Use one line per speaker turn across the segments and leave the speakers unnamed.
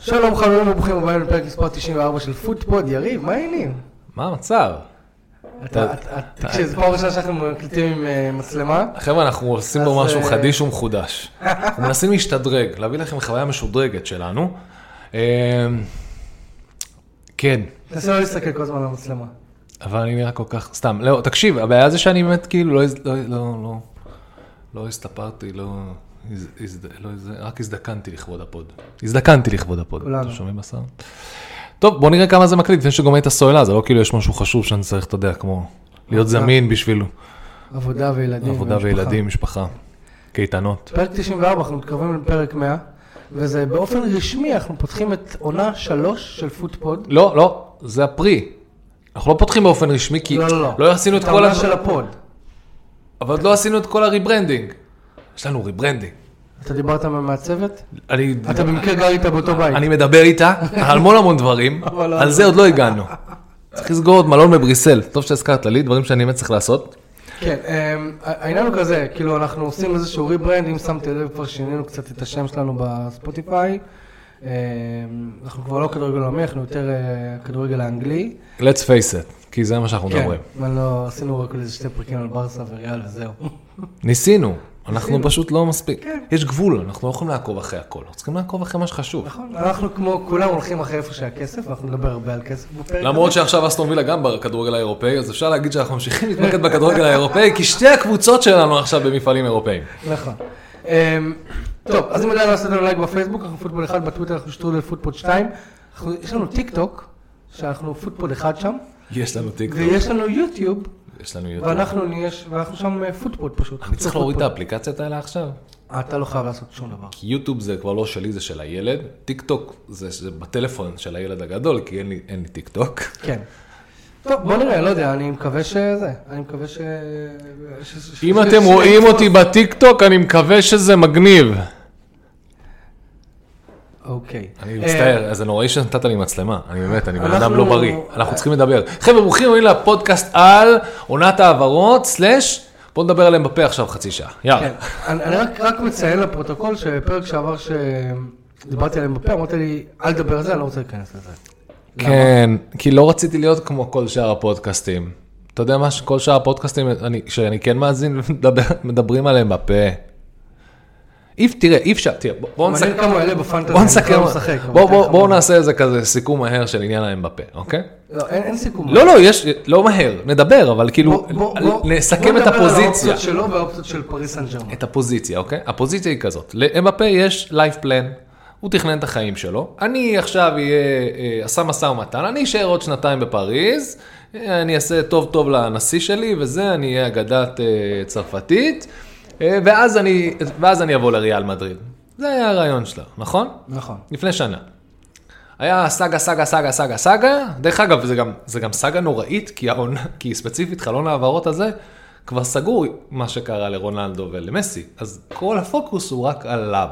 שלום חברים וברוכים הבאים לפרק מספר 94 של פודפוד, יריב, מה העניינים?
מה המצב?
אתה- אתה- תקשיב, זו פעם ראשונה שאנחנו מקליטים עם אה, מצלמה.
חבר'ה, אנחנו עושים
אז,
פה משהו
אה,
חדיש ומחודש. אנחנו מנסים להשתדרג, להביא לכם חוויה משודרגת שלנו. אה, כן,
תנסה לא להסתכל כל הזמן על המצלמה.
אבל אני נראה כל כך, סתם, לא, תקשיב, הבעיה זה שאני באמת כאילו לא, הז- לא, לא, לא, לא הסתפרתי, לא, הז- הזד- לא, הז- רק הזדקנתי לכבוד הפוד. הזדקנתי לכבוד הפוד.
כולנו.
אתה שומעים בסאונד? טוב, בוא נראה כמה זה מקליט לפני שגומר את הסוללה, זה לא כאילו יש משהו חשוב שאני צריך, אתה יודע, כמו להיות זמין
כן,
בשביל
עבודה וילדים.
עבודה
ומשפחה.
וילדים, משפחה, קייטנות.
פרק 94, אנחנו מתקרבים לפרק 100, וזה באופן רשמי, אנחנו פותחים את עונה 3 של פודפוד.
לא, לא, זה הפרי. אנחנו לא פותחים באופן רשמי, כי
לא, לא, לא.
לא עשינו את
את
כל ה...
העונה של הפוד.
אבל עוד לא עשינו את כל הריברנדינג. יש לנו ריברנדינג.
אתה דיברת עם מהצוות?
אני...
אתה במקרה גר איתה באותו בית.
אני מדבר איתה על המון המון דברים,
אבל לא-
על זה עוד לא הגענו. צריך לסגור עוד מלון בבריסל, טוב שהזכרת לי, דברים שאני באמת צריך לעשות.
כן, אמ, העניין הוא כזה, כאילו אנחנו עושים איזשהו ריברנד, אם שמתי לב כבר שינינו קצת את השם שלנו בספוטיפיי. אמ, אנחנו כבר לא כדורגל עולמי, אנחנו יותר אה, הכדורגל האנגלי.
let's face it, כי זה מה שאנחנו מדברים.
אבל לא, עשינו רק איזה שתי פרקים על ברסה וריאל וזהו.
ניסינו, אנחנו פשוט לא מספיק.
כן.
יש גבול, אנחנו לא יכולים לעקוב אחרי הכל, אנחנו צריכים לעקוב אחרי מה שחשוב.
נכון, אנחנו כמו כולם הולכים אחרי איפה שהכסף, ואנחנו נדבר הרבה על כסף בפרק.
למרות
הזה.
שעכשיו אסטון וילה גם בכדורגל האירופאי, אז אפשר להגיד שאנחנו ממשיכים להתמקד בכדורגל האירופאי, כי שתי הקבוצות שלנו עכשיו במפעלים אירופאיים.
נכון. אמ, טוב, אז אם עדיין לא עשיתם לנו לייק בפייסבוק, אנחנו פוטבול 1, בטוויטר אנחנו שטרודל פוטבול 2. אנחנו- יש לנו טיק טוק, שאנחנו פוטבול 1 שם,
יש לנו טיקטוק,
ויש לנו יוטיוב.
יש לנו יוטיוב.
ואנחנו נהיה, ש- ואנחנו שם אה, פוטבול פשוט.
אני צריך להוריד את כן. האפליקציות האלה עכשיו?
אה, אתה לא חייב לעשות שום דבר.
כי יוטיוב זה כבר לא שלי, זה של הילד. טיקטוק זה זה בטלפון של הילד הגדול, כי אין לי- אין לי טיקטוק.
כן. טוב, בוא נראה, לא יודע, אני מקווה שזה, אני מקווה ש... ש- ש-
אם
ש-
אתם
ש-
רואים אותי בטיקטוק, אני מקווה שזה מגניב.
אוקיי.
אני
אה,
מצטער, זה נוראי שנתת לי מצלמה, אני באמת, אני בן
אנחנו-
אדם לא בריא, אנחנו צריכים לדבר. חבר'ה, ברוכים הבאים לפודקאסט על עונת ההעברות, סלאש, בואו נדבר עליהם בפה עכשיו חצי שעה, יאללה.
כן, אני אני רק רק מציין לפרוטוקול שפרק שעבר שדיברתי עליהם בפה, אמרת לי, אל תדבר על זה, אני לא רוצה להיכנס לזה.
כן, כי לא רציתי להיות כמו כל שאר הפודקאסטים. אתה יודע מה, שכל שאר הפודקאסטים, אני, שאני כן מאזין, מדבר- מדברים עליהם בפה. אי, תראה, אי אפשר, תראה, בוא- בואו נסכם.
מעניין כמה אלה בפנטזיה,
בואו
אני בכלל
נסכם,
לא משחק, אבל
בואו
אני אתן
בוא,
לך
בוא
מה-
נעשה איזה כזה סיכום מהר של עניין להם בפה, אוקיי?
לא, אין אין סיכום.
לא, לא, יש, לא מהר, נדבר, אבל כאילו,
בוא- בוא- בוא-
נסכם
בוא
את
נדבר על
הפוזיציה.
האופציות שלו והאופציות של פריס סן ג'רמן.
את הפוזיציה, אוקיי? הפוזיציה היא כזאת, לאמפה יש לייף פלן, הוא תכנן את החיים שלו, אני עכשיו אהיה, אה, עשה משא ומתן, אני אשאר עוד שנתיים בפריז, אה, אני אעשה טוב טוב לנשיא שלי וזה, אני אהיה אגדת אה, צרפתית, אה, ואז אני, ואז אני אבוא לריאל מדריד. זה היה הרעיון שלה, נכון?
נכון.
לפני שנה. היה סאגה, סאגה, סאגה, סאגה, סאגה. דרך אגב, זה גם, זה גם סאגה נוראית, כי, העונה, כי ספציפית חלון ההעברות הזה כבר סגור מה שקרה לרונלדו ולמסי. אז כל הפוקוס הוא רק עליו.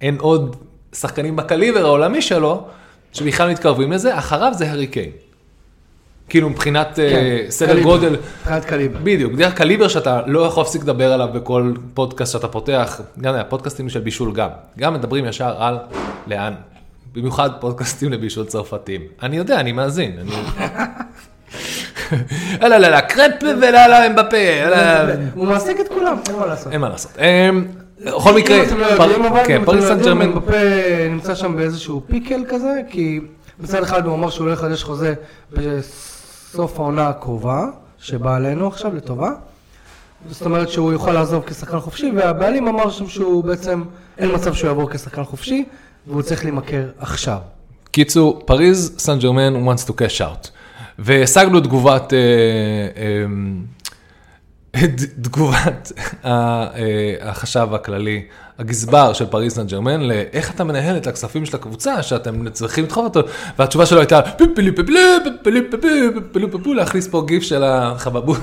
אין עוד שחקנים בקליבר העולמי שלו שבכלל מתקרבים לזה, אחריו זה הארי קיין. כאילו מבחינת כן,
כן,
סדר
קליבר.
גודל,
מבחינת קליבר.
בדיוק, דרך קליבר שאתה לא יכול להפסיק לדבר עליו בכל פודקאסט שאתה פותח, גם הפודקאסטים של בישול גם, גם מדברים ישר על לאן, במיוחד פודקאסטים לבישול צרפתים. אני יודע, אני מאזין. אני... לא, לא, לא, קרפ ולא, לא, אמבפה, לא,
הוא מעסיק את כולם, אין מה לעשות.
אין מה לעשות. אמ, בכל מקרה,
אם אתם לא
פר-
יודעים, אבל
כן,
אם
פריס
אתם לא
סן
יודעים,
ג'רמן,
אמבפה נמצא שם באיזשהו פיקל כזה, כי מצד אחד הוא אמר שהוא לא יחדש חוזה בסוף העונה הקרובה, שבאה עלינו עכשיו לטובה. זאת אומרת שהוא יוכל לעזוב כשחקן חופשי, והבעלים אמר שם שהוא בעצם, אין מצב שהוא יעבור כשחקן חופשי, והוא צריך להימכר עכשיו.
קיצור, פריז סן ג'רמן wants to cash out. והשגנו תגובת, אה, אה, ת- תגובת ה- אה, החשב הכללי, הגזבר של פריז סן ג'רמן, לאיך אתה מנהל את הכספים של הקבוצה, שאתם צריכים לדחוף אותו, והתשובה שלו הייתה, "פיפילי פיפילי, פיפילי פיפילי, פיפילי פיפילי", להכניס פה גיף של החבבו,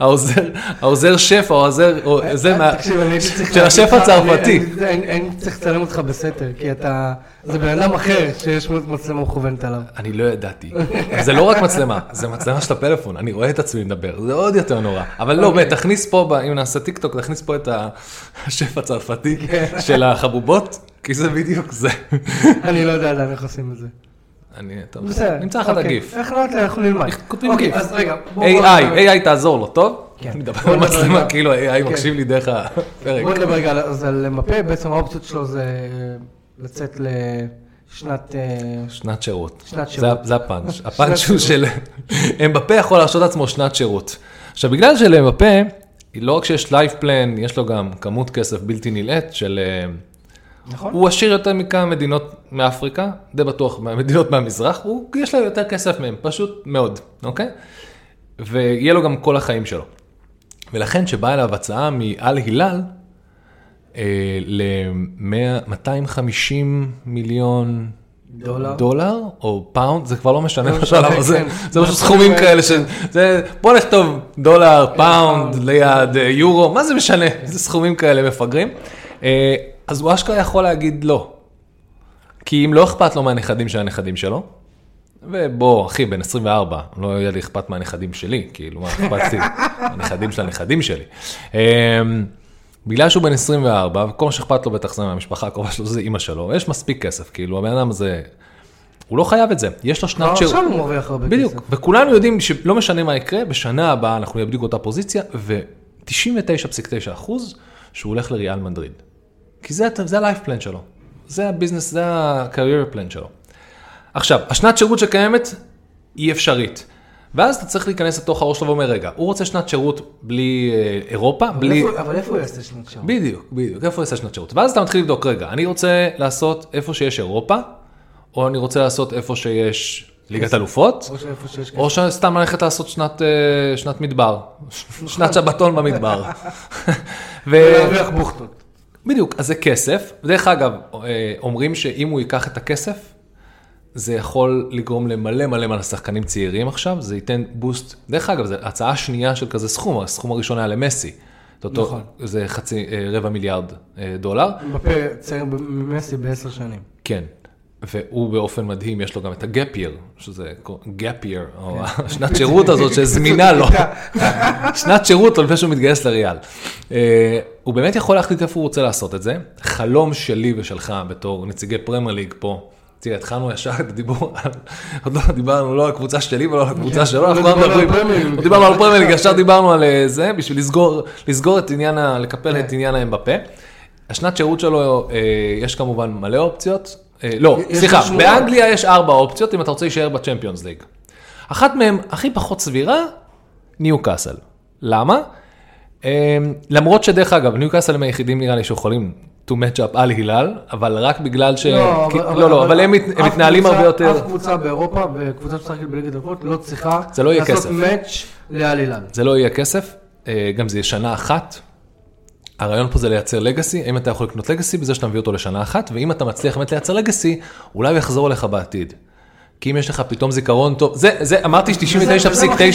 העוזר, העוזר שף, העוזר, או- זה מה,
תקשיב, אני הייתי צריך
של השף
להגיד לך,
הצרפתי.
אני- אני- אני אני צריך לצלם אותך בסתר, כי אתה, זה בן אדם אחר שיש מצלמה מכוונת עליו.
אני לא ידעתי. זה לא רק מצלמה, זה מצלמה של הפלאפון, אני רואה את עצמי מדבר, זה עוד יותר נורא. אבל
אוקיי.
לא, באמת, תכניס פה, ב- אם נעשה טיקטוק, תכניס פה את השף הצרפתי של החבובות, כי זה בדיוק זה.
אני לא יודע עדיין איך עושים את זה.
אני, טוב,
בסדר.
נמצא לך את
אוקיי.
הגיף.
איך לא יודע, אנחנו נלמד.
כותבים
אוקיי,
גיף.
אז רגע. בוא-
AI,
בוא-
AI תעזור לו, טוב?
כן.
אני מדבר
בוא
על
נדבר רגע.
מצלמה, כאילו AI מקשיב לי דרך
בוא
הפרק.
נדבר רגע על- אז על מפה, בעצם האופציות שלו זה אה, לצאת לשנת... אה,
שנת שירות.
שנת
זה
שירות.
ה- זה הפאנץ'.
שנת
הפאנץ' הוא של... אמבפה יכול להרשות לעצמו שנת שירות. עכשיו, בגלל שלאמבפה, לא רק שיש לייב פלן, יש לו גם כמות כסף בלתי נלאית של... אה,
נכון?
הוא עשיר יותר מכמה מדינות מאפריקה, די בטוח, מהמדינות מהמזרח, הוא, יש לו יותר כסף מהם, פשוט מאוד, אוקיי? ויהיה לו גם כל החיים שלו. ולכן שבאה אליו הצעה מעל הילל אה, ל-250 מיליון
דולר.
דולר או פאונד, זה כבר לא משנה
לא
בשלב
משנה,
הזה,
כן. כן,
זה פשוט סכומים כאלה של, זה, בוא נכתוב דולר, פאונד, ליד אה, יורו, מה זה משנה, זה סכומים כאלה מפגרים. אה, אז הוא אשכרה יכול להגיד לא. כי אם לא אכפת לו מהנכדים של הנכדים שלו, ובוא, אחי, בן 24, לא יהיה לי אכפת מהנכדים שלי, כאילו, מה אכפת לי? הנכדים של הנכדים שלי. אמ, בגלל שהוא בן 24, וכל מה שאכפת לו בטח זה מהמשפחה הקרובה שלו, זה אימא שלו, יש מספיק כסף, כאילו, הבן אדם הזה, הוא לא חייב את זה, יש לו
כבר
שנת שירות.
עכשיו הוא מרוויח הרבה כסף.
בדיוק, וכולנו יודעים שלא משנה מה יקרה, בשנה הבאה אנחנו נהיה בדיוק אותה פוזיציה, ו-99.9 אחוז שהוא הולך לריאל מדריד. כי זה, זה ה-life plan שלו, זה הביזנס, זה ה-career plan שלו. עכשיו, השנת שירות שקיימת היא אפשרית. ואז אתה צריך להיכנס לתוך הראש שלו ואומר, רגע, הוא רוצה שנת שירות בלי אה, אירופה,
אבל
בלי...
איפה- אבל איפה הוא יעשה שנת שירות?
בדיוק, בדיוק, איפה יש שנת שירות? ואז אתה מתחיל לבדוק, רגע, אני רוצה לעשות איפה שיש אירופה, או אני רוצה לעשות איפה שיש ליגת אלופות,
או שאיפה שיש כסף.
או שסתם ללכת לעשות שנת, אה, שנת מדבר, שנת שבתון במדבר. ו...
ולהרוויח בוכטות.
בדיוק, אז זה כסף. דרך אגב, אה, אומרים שאם הוא ייקח את הכסף, זה יכול לגרום למלא מלא מלא שחקנים צעירים עכשיו, זה ייתן בוסט. דרך אגב, זו הצעה שנייה של כזה סכום, הסכום הראשון היה למסי. את אותו,
נכון.
זה חצי, אה, רבע מיליארד אה, דולר.
מפה צעיר ממסי בעשר שנים.
כן, והוא באופן מדהים, יש לו גם את הגאפ יר, שזה גאפ יר, או
כן.
השנת שירות הזאת שזמינה לו, שנת שירות עוד לפני שהוא מתגייס לריאל. אה, הוא באמת יכול להחליט איפה הוא רוצה לעשות את זה. חלום שלי ושלך בתור נציגי פרמייר ליג פה. תראה, התחלנו ישר את הדיבור, על- עוד לא דיברנו לא על הקבוצה שלי ולא על הקבוצה שלו, אנחנו לא
כן, דיברנו על
מדברים,
פרמייר ליג.
דיברנו על פרמייר ליג, ישר דיברנו על אה, זה, בשביל לסגור, לסגור את עניין, ה- לקפל את עניין האם בפה. השנת שירות שלו, אה, יש כמובן מלא אופציות. אה, לא,
יש
סליחה,
משמעות.
באנגליה יש ארבע אופציות אם אתה רוצה להישאר בצ'מפיונס ליג. אחת מהן הכי פחות סבירה, ניו קאסל. למה? אה, למרות שדרך אגב, ניו קאסל הם היחידים נראה לי שיכולים to match up על הילל, אבל רק בגלל ש... כי- לא, לא, אבל הם מת- הם
אף
מתנהלים
קבוצה-
הרבה יותר...
אף קבוצה באירופה, בקבוצה שמשחקת בליגת אלפות, לא צריכה
זה לא יהיה
לעשות
כסף.
מאץ' לעלילן.
זה לא יהיה כסף, אה, גם זה יהיה שנה אחת. הרעיון פה זה לייצר לגאסי, אם אתה יכול לקנות לגאסי בזה שאתה מביא אותו לשנה אחת, ואם אתה מצליח באמת לייצר לגאסי, אולי הוא יחזור אליך בעתיד. כי אם יש לך פתאום זיכרון טוב, זה, זה אמרתי ש-99.9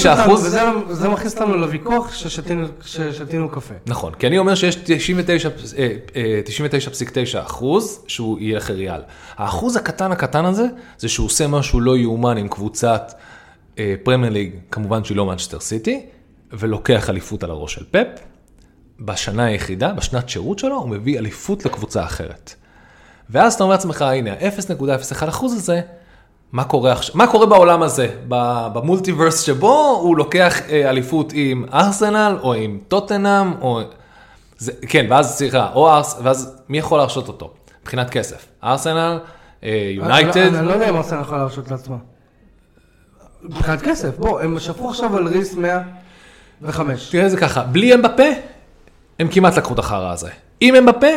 אחוז,
וזה מכניס אותנו לוויכוח ששתינו- ששתינו קפה.
נכון, כי אני אומר שיש 99, אה, אה, 99.9 אחוז שהוא יהיה חריאל. האחוז הקטן הקטן הזה, זה שהוא עושה משהו לא יאומן עם קבוצת אה, פרמייר ליג, כמובן שהיא לא מנצ'סטר סיטי, ולוקח אליפות על הראש של פפ. בשנה היחידה, בשנת שירות שלו, הוא מביא אליפות לקבוצה אחרת. ואז אתה אומר לעצמך, הנה, ה-0.01 אחוז הזה, מה קורה עכשיו, מה קורה בעולם הזה, ב- במולטיברס שבו הוא לוקח אה, אליפות עם ארסנל, או עם טוטנאם, או... זה, כן, ואז, סליחה, או ארס... ואז מי יכול להרשות אותו, מבחינת כסף? ארסנל, אה, יונייטד,
אני- אני לא יודע אם ארסנל יכולה להרשות לעצמה. מבחינת כסף, בוא, הם שפכו עכשיו על ריס 105.
תראה את זה ככה, בלי אמבפה, הם כמעט לקחו את החרא הזה. עם אמבפה,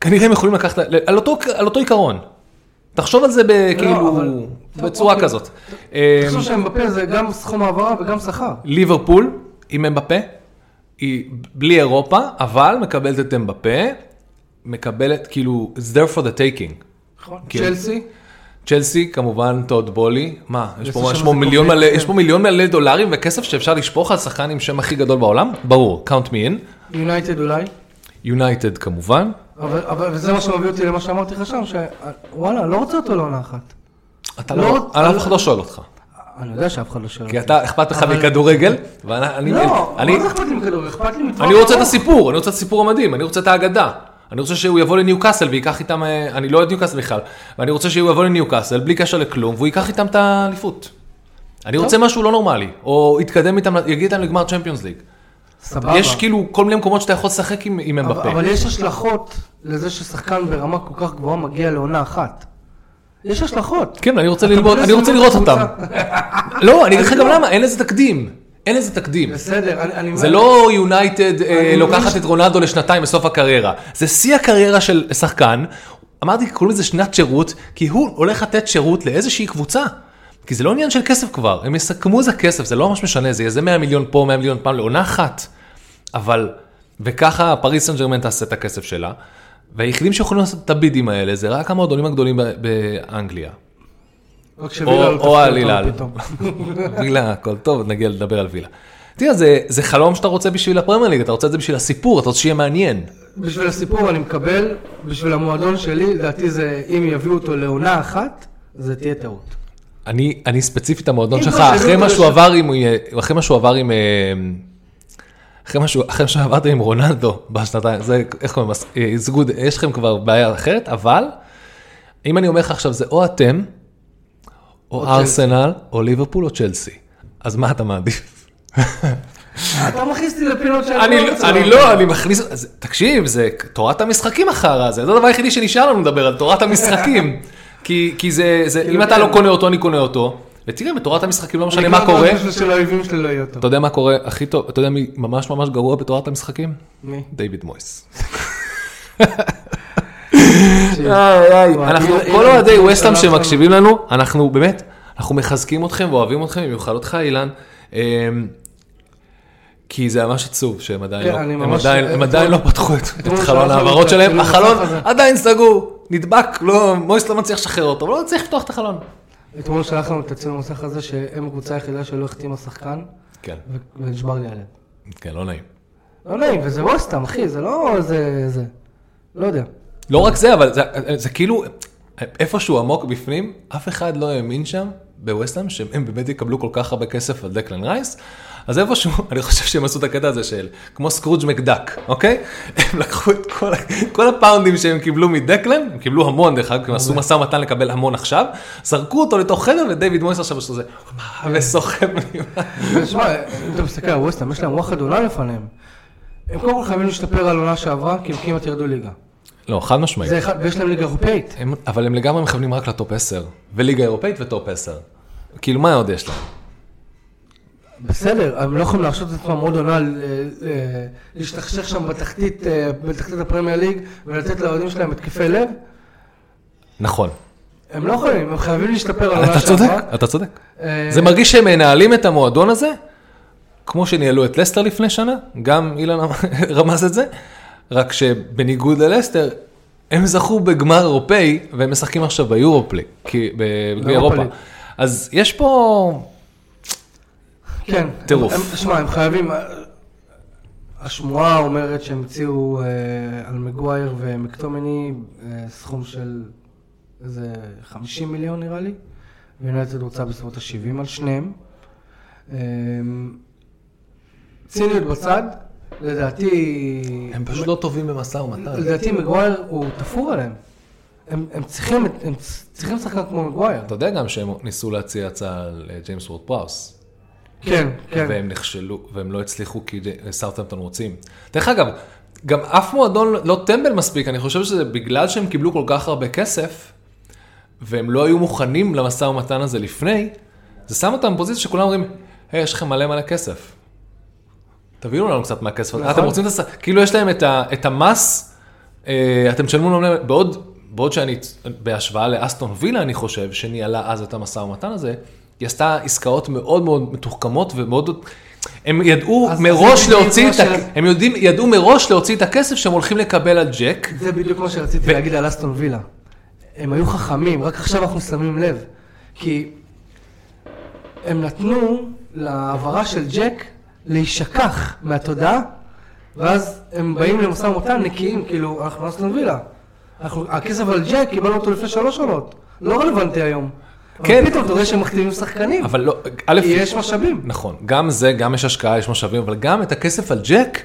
כנראה הם יכולים לקחת, על אותו, על אותו עיקרון. תחשוב על זה בכאילו,
לא, אבל-
בצורה
אוקיי.
כזאת. אה,
תחשוב שהם בפה זה גם סכום העברה וגם שכר.
ליברפול, עם אמבפה, היא בלי אירופה, אבל מקבלת את אמבפה, מקבלת, כאילו, it's there for the taking. כן.
צ'לסי,
צ'לסי, כמובן, טוד בולי, מה, יש פה,
יש
יש
שם
פה,
איזה
מיליון
קונפליקט, כן.
מלא, יש פה מיליון מלא דולרים וכסף שאפשר לשפוך על שחקן עם שם הכי גדול בעולם? ברור, count me in.
יונייטד אולי.
יונייטד כמובן,
אבל אבל- וזה מה שמביא אותי למה שאמרתי לך שם, שוואלה, לא רוצה אותו לעונה אחת.
אתה
לא-
לא, אני אף אחד לא שואל אותך,
אני יודע שאף אחד לא שואל.
כי אתה אכפת לך מכדורגל, ואני, אני-
לא,
אני-
מה זה אכפת לי מכדורגל? אכפת לי מטווח
אני רוצה את
ארוך.
הסיפור, אני רוצה את הסיפור המדהים, אני רוצה את האגדה. אני רוצה שהוא יבוא לניוקאסל וייקח איתם, אה, אני לא אוהד ניוקאסל בכלל, ואני רוצה שהוא יבוא לניוקאסל בלי קשר לכלום, והוא ייקח איתם את האליפות. אני רוצה משהו לא נורמלי, או יתקדם איתם, יגיע איתם לגמר צ'מפיונס ליג.
סבבה.
יש כאילו כל מיני מקומות שאתה יכול לשחק עם- עם
אבל-
אמבפה.
אבל יש השלכות לזה ששחקן ברמה כל כך גבוהה מגיע לעונה אחת. יש השלכות.
כן, אני רוצה
אתה
ללמוד,
מנסה
אני רוצה
ללמוד
לראות אותם.
קבוצה.
לא, אני אגיד לך גם למה, אין לזה תקדים. אין לזה תקדים.
בסדר, אני- אני...
זה לא יונייטד אה,
אני
לוקחת
מבין
את רונלדו לשנתיים בסוף הקריירה. זה שיא הקריירה של שחקן. אמרתי, קוראים לזה שנת שירות, כי הוא הולך לתת שירות לאיזושהי קבוצה. כי זה לא עניין של כסף כבר, הם יסכמו את הכסף, זה לא ממש משנה, זה יהיה זה 100 מיליון פה, 100 מיליון פעם לעונה אחת. אבל, וככה פריס סן ג'רמן תעשה את הכסף שלה. והיחידים שיכולים לעשות את הבידים האלה זה רק המועדונים הגדולים ב- באנגליה.
רק
או-
שווילה לא
או
תפתיע
על
אותנו
הילאל.
פתאום.
וילה, הכל טוב, נגיע לדבר על וילה. תראה, זה, זה חלום שאתה רוצה בשביל הפרמייר ליג, אתה רוצה את זה בשביל הסיפור, אתה רוצה שיהיה מעניין.
בשביל הסיפור אני מקבל, בשביל המועדון שלי, לדעתי זה, אם יביאו אותו לעונה אחת, זה תהיה טעות.
אני, אני ספציפית המועדון
אם
שלך,
כבר
אחרי
שאלו
מה
אותו
שהוא
ש-
עבר עם, אה, אחרי מה שהוא עבר עם, אה, אחרי מה שהוא, אחרי מה שעברת עם רונלדו בשנתיים, זה, איך קוראים, לזה? אה, it's good, יש לכם כבר בעיה אחרת, אבל אם אני אומר לך עכשיו זה או אתם, או
או
ארסנל, או ליברפול, או צ'לסי, אז מה אתה מעדיף?
אתה מכניס אותי לפינות שאני
אני,
רוצה.
אני לא, אני מכניס, אז תקשיב, זה תורת המשחקים אחר הזה, זה הדבר היחידי שנשאר לנו לדבר על תורת המשחקים. כי, כי זה, זה, אם אתה לא קונה אותו, אני קונה אותו. ותראה, בתורת המשחקים לא משנה
אני
מה
כבר
קורה.
בשביל שלאויבים שלי לא יהיה אותו.
אתה יודע מה קורה הכי טוב, אתה יודע מי ממש ממש גרוע בתורת המשחקים?
מי?
דיוויד מויס.
תקשיב.
אנחנו,
אם-
כל
אם-
אוהדי
אם-
ווסטהאם
אם-
שמקשיבים לנו, אנחנו באמת, אנחנו מחזקים אתכם ואוהבים אתכם, במיוחד אותך אילן. אמ, כי זה ממש עצוב שהם עדיין
כן,
לא-
אני
הם
ממש- אה,
עדיין- הם
אתמול-
עדיין לא פתחו את- את
אתמול
חלון
שלחנו
ההעברות
את הצילום
שלהם, החלון
הזה.
עדיין סגור, נדבק, לא, מויס לא מצליח לשחרר אותו, אבל לא מצליח לפתוח את החלון.
אתמול שלחנו את הצילום המסך הזה שהם הקבוצה היחידה שלא החתימה שחקן,
כן,
ו- ונשבר לי הלב.
כן, לא נעים.
לא נעים, וזה ווסטהאם, אחי, זה לא איזה... זה. לא יודע.
לא רק זה, אבל זה, זה כאילו, איפשהו עמוק בפנים, אף אחד לא האמין שם, בווסטהאם, שהם באמת יקבלו כל כך הרבה כסף על דקלן רייס. אז איפשהו, אני חושב שהם עשו את הקטע הזה של, כמו סקרוג' מקדק, אוקיי? הם לקחו את כל, ה- כל הפאונדים שהם קיבלו מדקלן, הם קיבלו המון דרך אגב, כי הם עשו משא ומתן לקבל המון עכשיו, זרקו אותו לתוך חדר ודייוויד מויס עכשיו עשו זה, וסוחב לי.
תשמע, אם אתה מסתכל על ווסטהאם, יש להם וואחד עונה לפניהם. הם קודם כל חייבים להשתפר על עונה שעברה, כי הם כמעט ירדו ליגה.
לא, חד משמעית.
זה אחד, ויש להם ליגה אירופאית.
הם, אבל הם לגמרי מכוונים רק לטופ 10, וליגה אירופאית וטופ 10. כאילו, מה עוד יש להם?
בסדר, הם לא יכולים להרשות לעצמם עוד עונה ל- ל- להשתכשך שם בתחתית, אה, בתחתית הפרמייר ליג ולתת לאוהדים שלהם התקפי לב.
נכון.
הם לא יכולים, הם חייבים להשתפר על עונה
אתה
שעברה.
צודק, אתה צודק.
אה,
זה מרגיש שהם מנהלים את המועדון הזה, כמו שניהלו את לסטר לפני שנה, גם אילן אמר- רמז את זה, רק שבניגוד ללסטר, הם זכו בגמר אירופאי, והם משחקים עכשיו ביורופלי, כי- בגביע
באירופה
אירופה.
ליג.
אז יש פה...
כן.
טירוף.
הם- שמע, הם חייבים... אה, השמועה אומרת שהם הציעו אה, על מגווייר ומקטומני אה, סכום של איזה 50 מיליון נראה לי, ויונייטד רוצה בסביבות ה-70 על שניהם. אה, ציניות בצד, לדעתי...
הם פשוט לא טובים במשא ומתן.
לדעתי מגווייר הוא תפור עליהם. הם, הם צריכים, הם צריכים שחקן כמו מגווייר.
אתה יודע גם שהם ניסו להציע הצעה לג'יימס וורד פראוס.
כן, כן.
והם נכשלו, והם לא הצליחו כי סארטמפטון רוצים. דרך אגב, גם אף מועדון לא טמבל מספיק, אני חושב שזה בגלל שהם קיבלו כל כך הרבה כסף, והם לא היו מוכנים למשא ומתן הזה לפני, זה שם אותם בפוזיציה שכולם אומרים, היי, יש לכם מלא מלא כסף. תביאו לנו קצת מהכסף הזה.
נכון.
אתם רוצים את הס... כאילו יש להם את, ה... את המס, אה, אתם תשלמו לנו מלא- בעוד, בעוד שאני, בהשוואה לאסטון וילה, אני חושב, שניהלה אז את המשא ומתן הזה, היא עשתה עסקאות מאוד מאוד מתוחכמות ומאוד... הם ידעו
אז- אז
מראש
זה בדיוק
להוציא
מה
את ה...
ש-
הם יודעים, ידעו מראש להוציא את הכסף שהם הולכים לקבל על ג'ק.
זה בדיוק מה שרציתי להגיד על אסטון וילה. הם היו חכמים, רק עכשיו אנחנו שמים לב. כי הם נתנו להעברה של ג'ק להישכח מהתודעה, ואז הם באים למשא ומתן נקיים, כאילו, אנחנו אסטון וילה. אנחנו- הכסף על ג'ק, קיבלנו אותו לפני שלוש עונות. לא רלוונטי היום.
כן.
אבל פתאום אתה רואה שהם מחתימים שחקנים.
אבל לא, א',
כי יש משאבים.
נכון, גם זה, גם יש השקעה, יש משאבים, אבל גם את הכסף על ג'ק,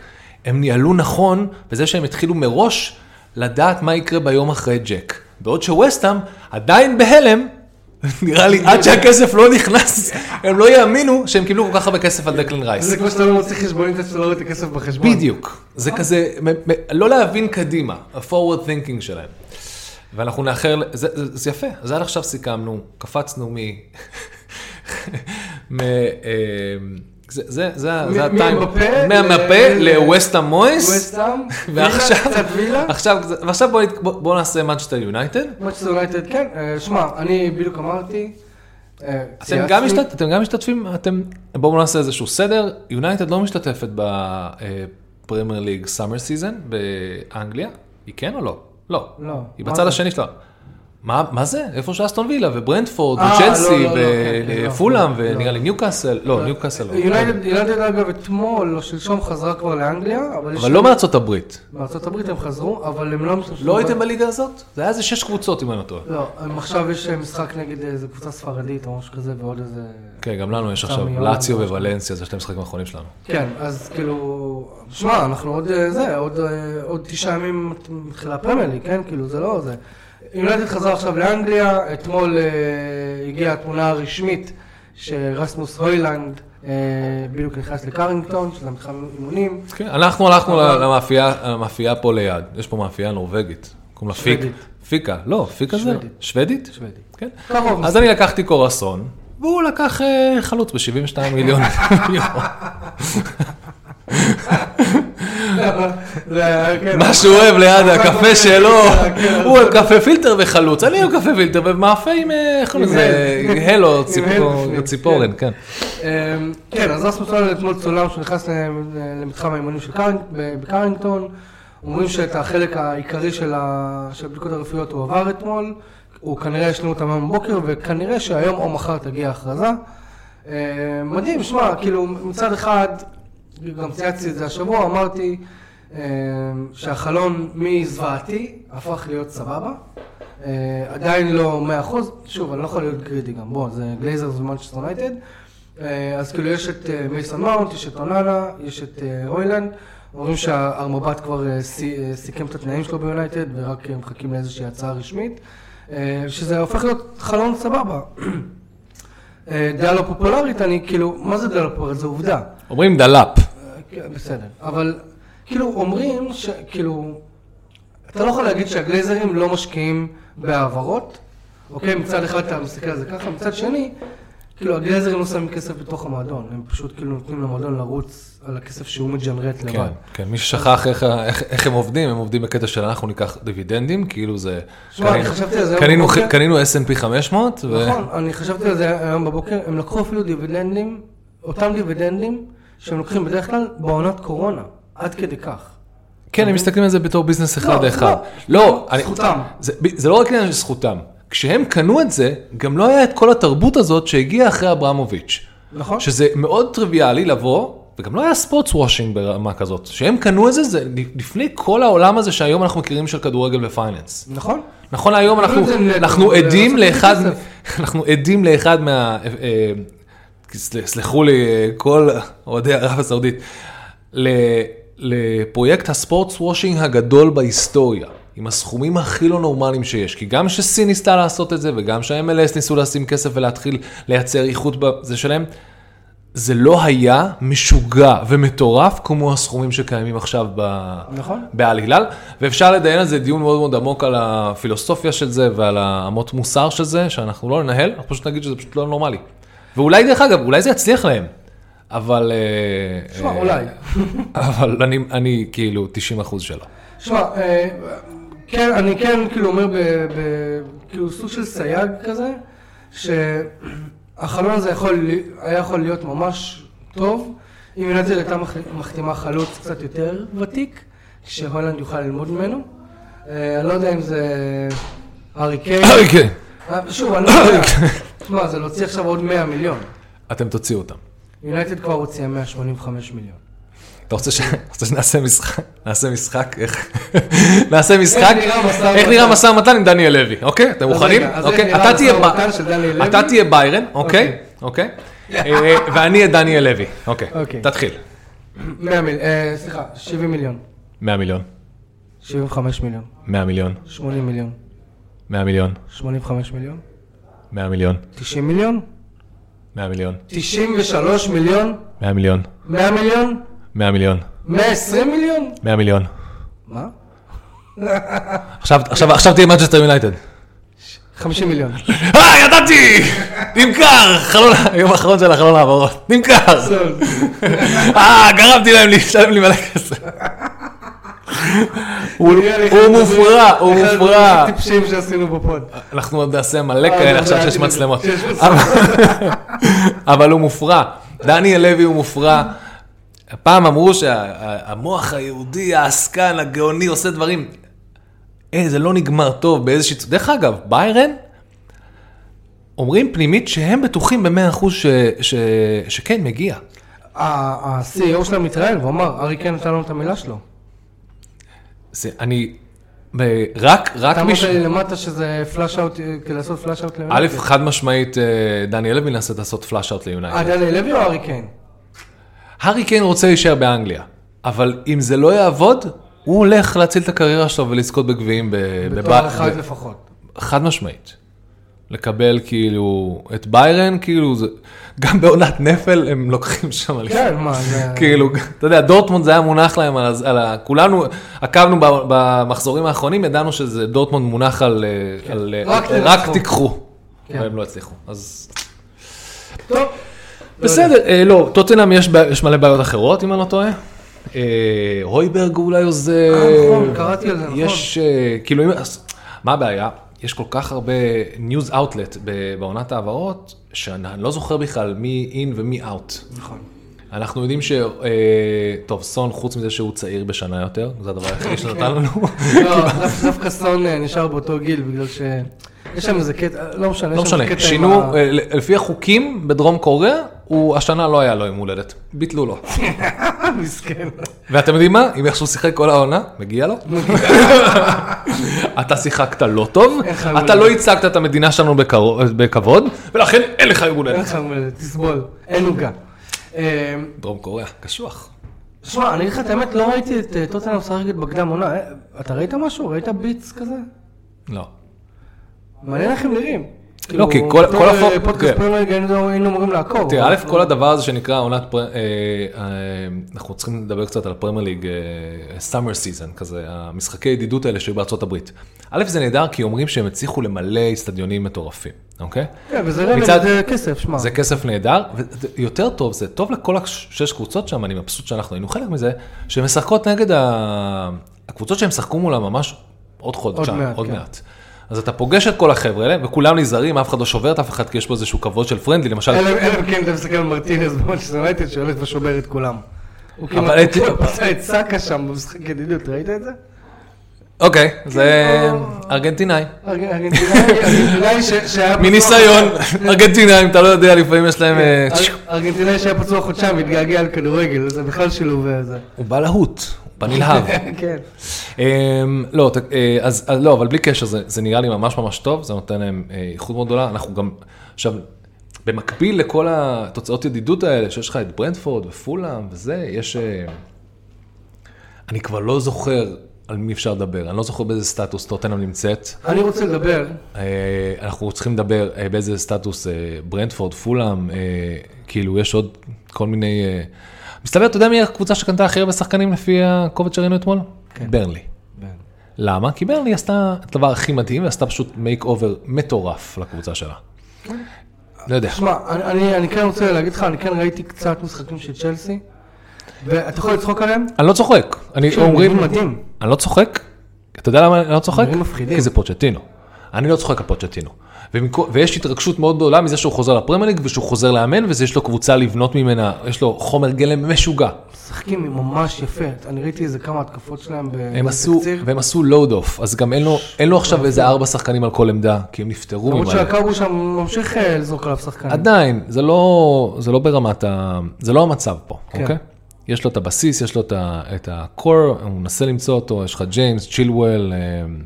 הם ניהלו נכון, בזה שהם התחילו מראש לדעת מה יקרה ביום אחרי ג'ק. בעוד שווסטהאם עדיין בהלם, נראה לי, עד שהכסף לא נכנס, הם לא יאמינו שהם קיבלו כל כך הרבה כסף על דקלן רייס.
זה כמו שאתה לא מוציא חשבונית עד שאתה לא רואה את הכסף בחשבון.
בדיוק. זה כזה, מ- מ- לא להבין קדימה, ה-forward thinking שלהם. ואנחנו נאחר, ל- זה, זה, זה יפה, אז עד עכשיו סיכמנו, קפצנו מ... מ... אמ, זה, זה, זה,
מ-
זה הטיים,
מהמפה
מהמפה
ל-
לווסטה מויס,
ווסטהאם,
ועכשיו,
וילה, קצת וילה.
עכשיו, ועכשיו בואו נ- בואו- בואו נעשה מנצ'סטר יונייטד.
מצ'סטר יונייטד, כן. אה, שמע, אני בדיוק אמרתי. אה,
אתם
צייצתי.
גם, משתת, אתם גם משתתפים, אתם, בואו נעשה איזשהו סדר, יונייטד לא משתתפת בפרמייר ליג סאמר סיזן באנגליה, היא כן או לא? לא.
לא.
היא
מה
בצד
זה?
השני שלה. מה, מה זה? איפה שאסטון וילה וברנדפורד
אה,
וצ'לסי
לא, לא, לא, כן, כן, לא,
ופולאם
לא,
ונראה
לא.
לי ניוקאסל, לא, ניוקאסל לא.
יונייטד, יונייטד, אגב אתמול או שלשום חזרה כבר לאנגליה, אבל יש...
אבל לא מארצות הברית.
בארצות הברית הם חזרו, אבל הם לא משתמשים...
לא הייתם בליגה הזאת? זה היה איזה שש קבוצות אם אני לא טועה.
לא, הם עכשיו יש אה, משחק נגד איזה קבוצה ספרדית או משהו כזה ועוד איזה...
כן, גם לנו יש עכשיו
סמי,
לאציו
יונייטד.
ווולנסיה, זה שני המשחקים האחרונים שלנו.
כן, אז כאילו... שמע, אנחנו עוד אה, זה, עוד, אה, עוד תשעה ימים מתחילה הפרמיילי, כן? כאילו, זה לא זה. יונייטד חזר עכשיו לאנגליה, אתמול אה, הגיעה התמונה הרשמית שרסמוס הוילנד אה, בדיוק נכנס לקרינגטון, שזה מתחם אימונים.
כן, אנחנו הלכנו ל- למאפייה, המאפייה פה ליד, יש פה מאפייה נורבגית, קוראים לה פיק,
שוודית.
פיקה, לא, פיקה זה,
שוודית.
שוודית?
שוודית.
כן.
קרוב.
אז אני לקחתי קורסון, והוא לקח אה, חלוץ ב-72 מיליון יורו.
זה- כן.
מה שהוא אוהב ליד
כן,
הקפה שלו,
כן.
הוא אוהב קפה פילטר וחלוץ, אני אוהב קפה פילטר ומאפה עם, אה, איך קוראים
עם
לזה,
הל.
הל או
עם
ציפור-
הל בפנים,
ציפורן, כן.
אמ, כן, אז רסמוס הולנד אתמול צולם שנכנס ל- למתחם האימונים של קרינג- ב- בקרינגטון. אומרים שאת החלק העיקרי של ה- של הבדיקות הרפואיות הוא עבר אתמול. הוא כנראה ישנו אותם היום בבוקר, וכנראה שהיום או מחר תגיע ההכרזה. אמ, מדהים, שמע, כאילו מצד אחד, גם צייצתי את זה השבוע, אמרתי אמ, שהחלון מזוועתי הפך להיות סבבה. אה, עדיין לא 100%, שוב, אני לא יכול להיות גרידי גם, בוא, זה גלייזר ומנצ'סטר יונייטד. אה, אז כאילו יש את אה, מייסון מאונט, יש את אוננה, יש את אה, הוילנד. אומרים שהארמבט כבר אה, סי- אה, סיכם את התנאים שלו ביונייטד ורק אה, מחכים לאיזושהי הצעה רשמית. אה, שזה הופך להיות חלון סבבה. אה, דעה לא פופולרית, אני כאילו, מה זה דעה לא פופולרית? זו עובדה.
אומרים דלאפ.
כן, בסדר, אבל כאילו אומרים ש... כאילו, אתה לא יכול להגיד שהגלייזרים לא משקיעים בהעברות, אוקיי? מצד אחד אתה מסתכל על זה ככה, מצד שני, כאילו הגלייזרים לא שמים כסף בתוך המועדון, הם פשוט כאילו נותנים למועדון לרוץ על הכסף שהוא מג'נרט
כן,
לבד.
כן, מי ששכח איך, ה- איך, איך הם עובדים, הם עובדים בקטע של אנחנו ניקח דיבידנדים, כאילו זה...
שמע, אני חשבתי על זה היום
קנינו,
בבוקר.
ח- קנינו S&P 500, ו...
נכון, אני חשבתי על זה היום בבוקר, הם לקחו אפילו דיבידנדים, אותם דיבידנדים שהם לוקחים בדרך כלל בעונת קורונה, עד כדי כך.
כן, הם מסתכלים על זה בתור ביזנס אחד
לא,
לאחד.
לא,
לא, אני-
זכותם.
זה, ב- זה לא רק עניין של זכותם. כשהם קנו את זה, גם לא היה את כל התרבות הזאת שהגיעה אחרי אברמוביץ'.
נכון?
שזה מאוד טריוויאלי לבוא, וגם לא היה ספורטס וושינג ברמה כזאת. שהם קנו את זה, זה לפני כל העולם הזה שהיום אנחנו מכירים של כדורגל ופייננס.
נכון?
נכון להיום אנחנו,
לא זה נטו,
אנחנו
זה
עדים
לעשות
לאחד,
כסף.
אנחנו עדים לאחד מה... אה, אה, סל- סלחו לי אה, כל אוהדי ערב הסעודית, ל- לפרויקט הספורטס וושינג הגדול בהיסטוריה, עם הסכומים הכי לא נורמליים שיש, כי גם שסין ניסתה לעשות את זה וגם שה-MLS ניסו לשים כסף ולהתחיל לייצר איכות בזה שלהם, זה לא היה משוגע ומטורף כמו הסכומים שקיימים עכשיו ב...
נכון.
בעל הלל, ואפשר לדיין על זה דיון מאוד מאוד עמוק על הפילוסופיה של זה ועל האמות מוסר של זה, שאנחנו לא ננהל, אנחנו פשוט נגיד שזה פשוט לא נורמלי. ואולי דרך אגב, אולי זה יצליח להם, אבל... אה,
שמע,
אה,
אולי.
אבל אני, אני כאילו 90 אחוז שלו.
שמע, אה, כן, אני כן כאילו אומר, ב, ב, כאילו סוג של סייג כזה, שהחלון הזה יכול, ל- היה יכול להיות ממש טוב, אם יונתן הייתה מח- מחתימה חלוץ קצת יותר ותיק, שהולנד יוכל ללמוד ממנו. אה, אני לא יודע אם זה הארי קיין.
כן.
אה, שוב, אני לא יודע. שמע, זה להוציא עכשיו עוד 100 מיליון.
אתם תוציאו אותם.
יונייטד כבר הוציאה 185 מיליון.
אתה רוצה, ש... רוצה שנעשה משחק? נעשה משחק? איך? נעשה משחק?
נראה משא ומתן?
איך נראה משא ומתן עם דניאל לוי, אוקיי? אתם
אז
מוכנים?
רגע, אז איך
אוקיי,
נראה
אתה
המשא
תהיה ב-
ומתן של דניאל לוי?
אתה תהיה ביירן, אוקיי? אוקיי? אה, ואני אהיה דניאל לוי, אוקיי?
אוקיי.
תתחיל.
100 אה, מיליון, סליחה, 70 מיליון.
100 מיליון.
75 מיליון,
100 מיליון,
80 מיליון,
100 מיליון,
85 מיליון,
100 מיליון,
90 מיליון,
100 מיליון,
93 מיליון,
100 מיליון,
100 מיליון,
100 מיליון,
120 מיליון?
100 מיליון.
מה?
עכשיו, עכשיו, עכשיו תהיה מנצ'סטר יונייטד.
50 מיליון.
אה, ידעתי! נמכר! חלון, היום האחרון של החלון העברות. נמכר! אה, גרמתי להם לשלם לי מלא כסף. הוא הוא מופרע, הוא מופרע.
אחד הטיפשים שעשינו בפוד.
אנחנו עוד נעשה מלא
אה,
כאלה
לא,
עכשיו
לא,
שיש
אני-
מצלמות.
שיש מצלמות.
אבל- אבל הוא מופרע. דניאל לוי הוא מופרע. פעם אמרו שהמוח היהודי, העסקן, הגאוני, עושה דברים. אה, זה לא נגמר טוב באיזושהי... צ- דרך אגב, ביירן, אומרים פנימית שהם בטוחים ב-100% ש... ש... שכן מגיע.
ה- ה-CEO שלהם התראיין והוא אמר, ארי כן נתן לנו את המילה שלו.
זה, אני... ב- רק, רק
אתה אמרת
מישהו...
לי למטה שזה פלאש אאוט, אה, כאילו לעשות פלאש אאוט ליונייטד.
א', חד משמעית, אה, דניאל לוי מנסה לעשות פלאש-אאוט ליונייטד.
אה, דני לוי או ארי כן?
הארי קיין רוצה להישאר באנגליה, אבל אם זה לא יעבוד, הוא הולך להציל את הקריירה שלו ולזכות בגביעים ב-
בתואר
בב-
אחד
ב-
לפחות.
חד משמעית. לקבל כאילו את ביירן, כאילו זה... גם בעונת נפל הם לוקחים שם אליפות.
כן, מה, זה...
כאילו, אתה יודע, דורטמונד זה היה מונח להם על, הז- על ה... כולנו עקבנו ב- במחזורים האחרונים, ידענו שזה דורטמונד מונח על... אה, על אה,
כן. רק
על-
תנצחו.
רק תיקחו.
כן.
אבל הם לא הצליחו, אז...
טוב.
בסדר, אה, לא, טוטנאם יש בע- יש מלא בעיות אחרות, אם אני לא טועה. אה, הויברג אולי עוזב.
אה, נכון, קראתי על זה, נכון.
יש, אה, כאילו, אם- אז מה הבעיה? יש כל כך הרבה ניוז אאוטלט בעונת ההעברות, שאני לא זוכר בכלל מי אין ומי אאוט.
נכון.
אנחנו יודעים ש... אה, טוב, סון, חוץ מזה שהוא צעיר בשנה יותר, זה הדבר היחיד שנתן לנו.
לא, דו- דווקא סון אה, נשאר באותו גיל, בגלל ש... יש שם איזה קטע, לא משנה, יש
לא
שם
משנה,
איזה קטע עם ה-
שינו, אה, לפי החוקים בדרום קוריאה, הוא השנה לא היה לו יום הולדת, ביטלו לו.
אה, מסכן.
ואתם יודעים מה? אם איכשהו שיחק כל העונה, מגיע לו. אתה שיחקת לא טוב,
אין לך יום
אתה לא
הולדת.
ייצגת את המדינה שלנו בקרו- בכבוד, ולכן אין לך יום
אין
הולדת.
לך מה זה, תסבול, אין עוגה. אה,
דרום קוריאה, קשוח.
שמע, אני אגיד לך את האמת, לא ראיתי את אה, טוטנאם משחקת בקדם עונה. אה, אתה ראית משהו? ראית ביטס כזה?
לא.
מעניין איך הם נראים.
לא, כי
כאילו,
כל-
בתור,
כל
אה,
הפוק-
פודקאסט
כן.
פרמייר ליג היינו היינו אמורים לעקוב.
תראה,
אבל-
א', כל הדבר הזה שנקרא עונת, פר- אה, אה, אנחנו צריכים לדבר קצת על הפרמייר ליג סאמר סיזן, כזה, המשחקי ידידות האלה שהיו בארצות הברית. א', זה נהדר כי אומרים שהם הצליחו למלא אצטדיונים מטורפים, אוקיי?
כן, וזה רמז,
מצד-
זה כסף, שמע.
זה כסף נהדר, ויותר טוב, זה טוב לכל השש קבוצות שם, אני מבסוט שאנחנו היינו חלק מזה, שהן משחקות נגד ה- הקבוצות שהם שחקו מולם ממש עוד חודשיים,
מעט,
עוד
כן.
מעט. אז אתה פוגש את כל החבר'ה האלה, וכולם נזהרים, אף אחד לא שובר את אף אחד, כי יש פה איזשהו כבוד של פרנדלי, למשל,
אלא אלא אם כן אתה מסתכל על מרטינז במונצ'סטר יונייטד שהולך ושובר את כולם. הוא כמעט
את-
הוא כמעט עשה את סאקה שם במשחק ידידות, ראית את זה?
אוקיי, זה
או-
ארגנטינאי.
ארג- ארגנטינאי ארגנטינאי ש- שהיה... פצוע-
מניסיון, ארגנטינאים, אתה לא יודע, לפעמים יש להם... אה,
אר- ארגנטינאי שהיה פצוע חודשיים, התגעגע על כדורגל, זה בכלל שילוב אה, זה.
הוא בא להוט, הוא בא נלהב.
כן.
אמ, לא, ת- אה, אז אז לא, אבל בלי קשר, זה זה נראה לי ממש ממש טוב, זה נותן להם אה, איכות מאוד גדולה. אנחנו גם, עכשיו, במקביל לכל התוצאות ידידות האלה, שיש לך את ברנדפורד ופולאם וזה, יש... אה, אני כבר לא זוכר על מי אפשר לדבר, אני לא זוכר באיזה סטטוס טוטנאם נמצאת.
אני רוצה לדבר,
אה, אנחנו צריכים לדבר אה, באיזה סטטוס אה, ברנדפורד, פולאם, אה, כאילו יש עוד כל מיני... אה, מסתבר, אתה יודע מי הקבוצה שקנתה הכי הרבה שחקנים לפי הקובץ שראינו אתמול? כן. ברנלי. למה? כי ברנלי עשתה את הדבר הכי מדהים, ועשתה פשוט מייק אובר מטורף לקבוצה שלה. לא יודע.
שמע, אני- אני אני כן רוצה להגיד לך, אני כן ראיתי קצת משחקים של צ'לסי, ואתה יכול לצחוק עליהם?
אני לא צוחק. אני
שהם
אומרים...
נראים מדהים.
אני לא צוחק. אתה יודע למה אני לא צוחק?
דברים מפחידים.
כי זה פוצ'טינו. אני לא צוחק על פוצ'טינו. ומכו- ויש התרגשות מאוד גדולה מזה שהוא חוזר לפרמייר ליג ושהוא חוזר לאמן ויש לו קבוצה לבנות ממנה, יש לו חומר גלם משוגע.
משחקים ממש יפה, אני ראיתי איזה כמה התקפות שלהם
הם עשו,
בתקציר.
והם עשו לואוד אוף, אז גם אין לו, אין לו עכשיו איזה ארבע שחקנים על כל עמדה, כי הם נפטרו
למרות
ממנו.
שהקאבו שם ממשיך אה, לזרוק עליו שחקנים.
כן. עדיין, זה לא, זה לא ברמת ה... זה לא המצב פה,
כן.
אוקיי? יש לו את הבסיס, יש לו את ה- את ה-core, הוא מנסה למצוא אותו, יש לך ג'יימס, צ'ילואל, אמ,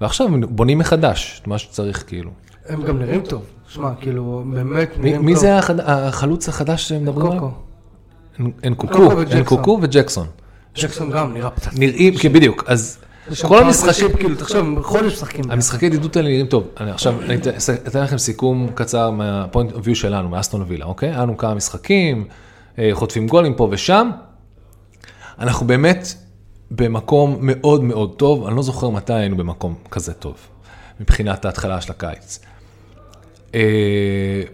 ועכשיו בונים מחדש את מה שצריך, כאילו.
הם גם נראים טוב. שמע, כאילו, הם באמת
מי-
נראים טוב.
מי זה החד- החלוץ החדש שמדברים עליו?
קוקו.
אין קוקו, אין
וג'קסון.
קוקו וג'קסון.
ג'קסון גם נראה פצצה.
נראים, כן, בדיוק, אז
כל המשחקים, כאילו, תחשוב, חודש משחקים.
המשחקי ידידות האלה נראים טוב. אני עכשיו אני אתן- אתן לכם סיכום קצר מהפוינט אוף שלנו, מאסטון וילה, אוקיי? היה לנו כמה משחקים, אה, חוטפים גולים פה ושם. אנחנו באמת במקום מאוד מאוד טוב, אני לא זוכר מתי היינו במקום כזה טוב, מבחינת ההתחלה של הקיץ. אה,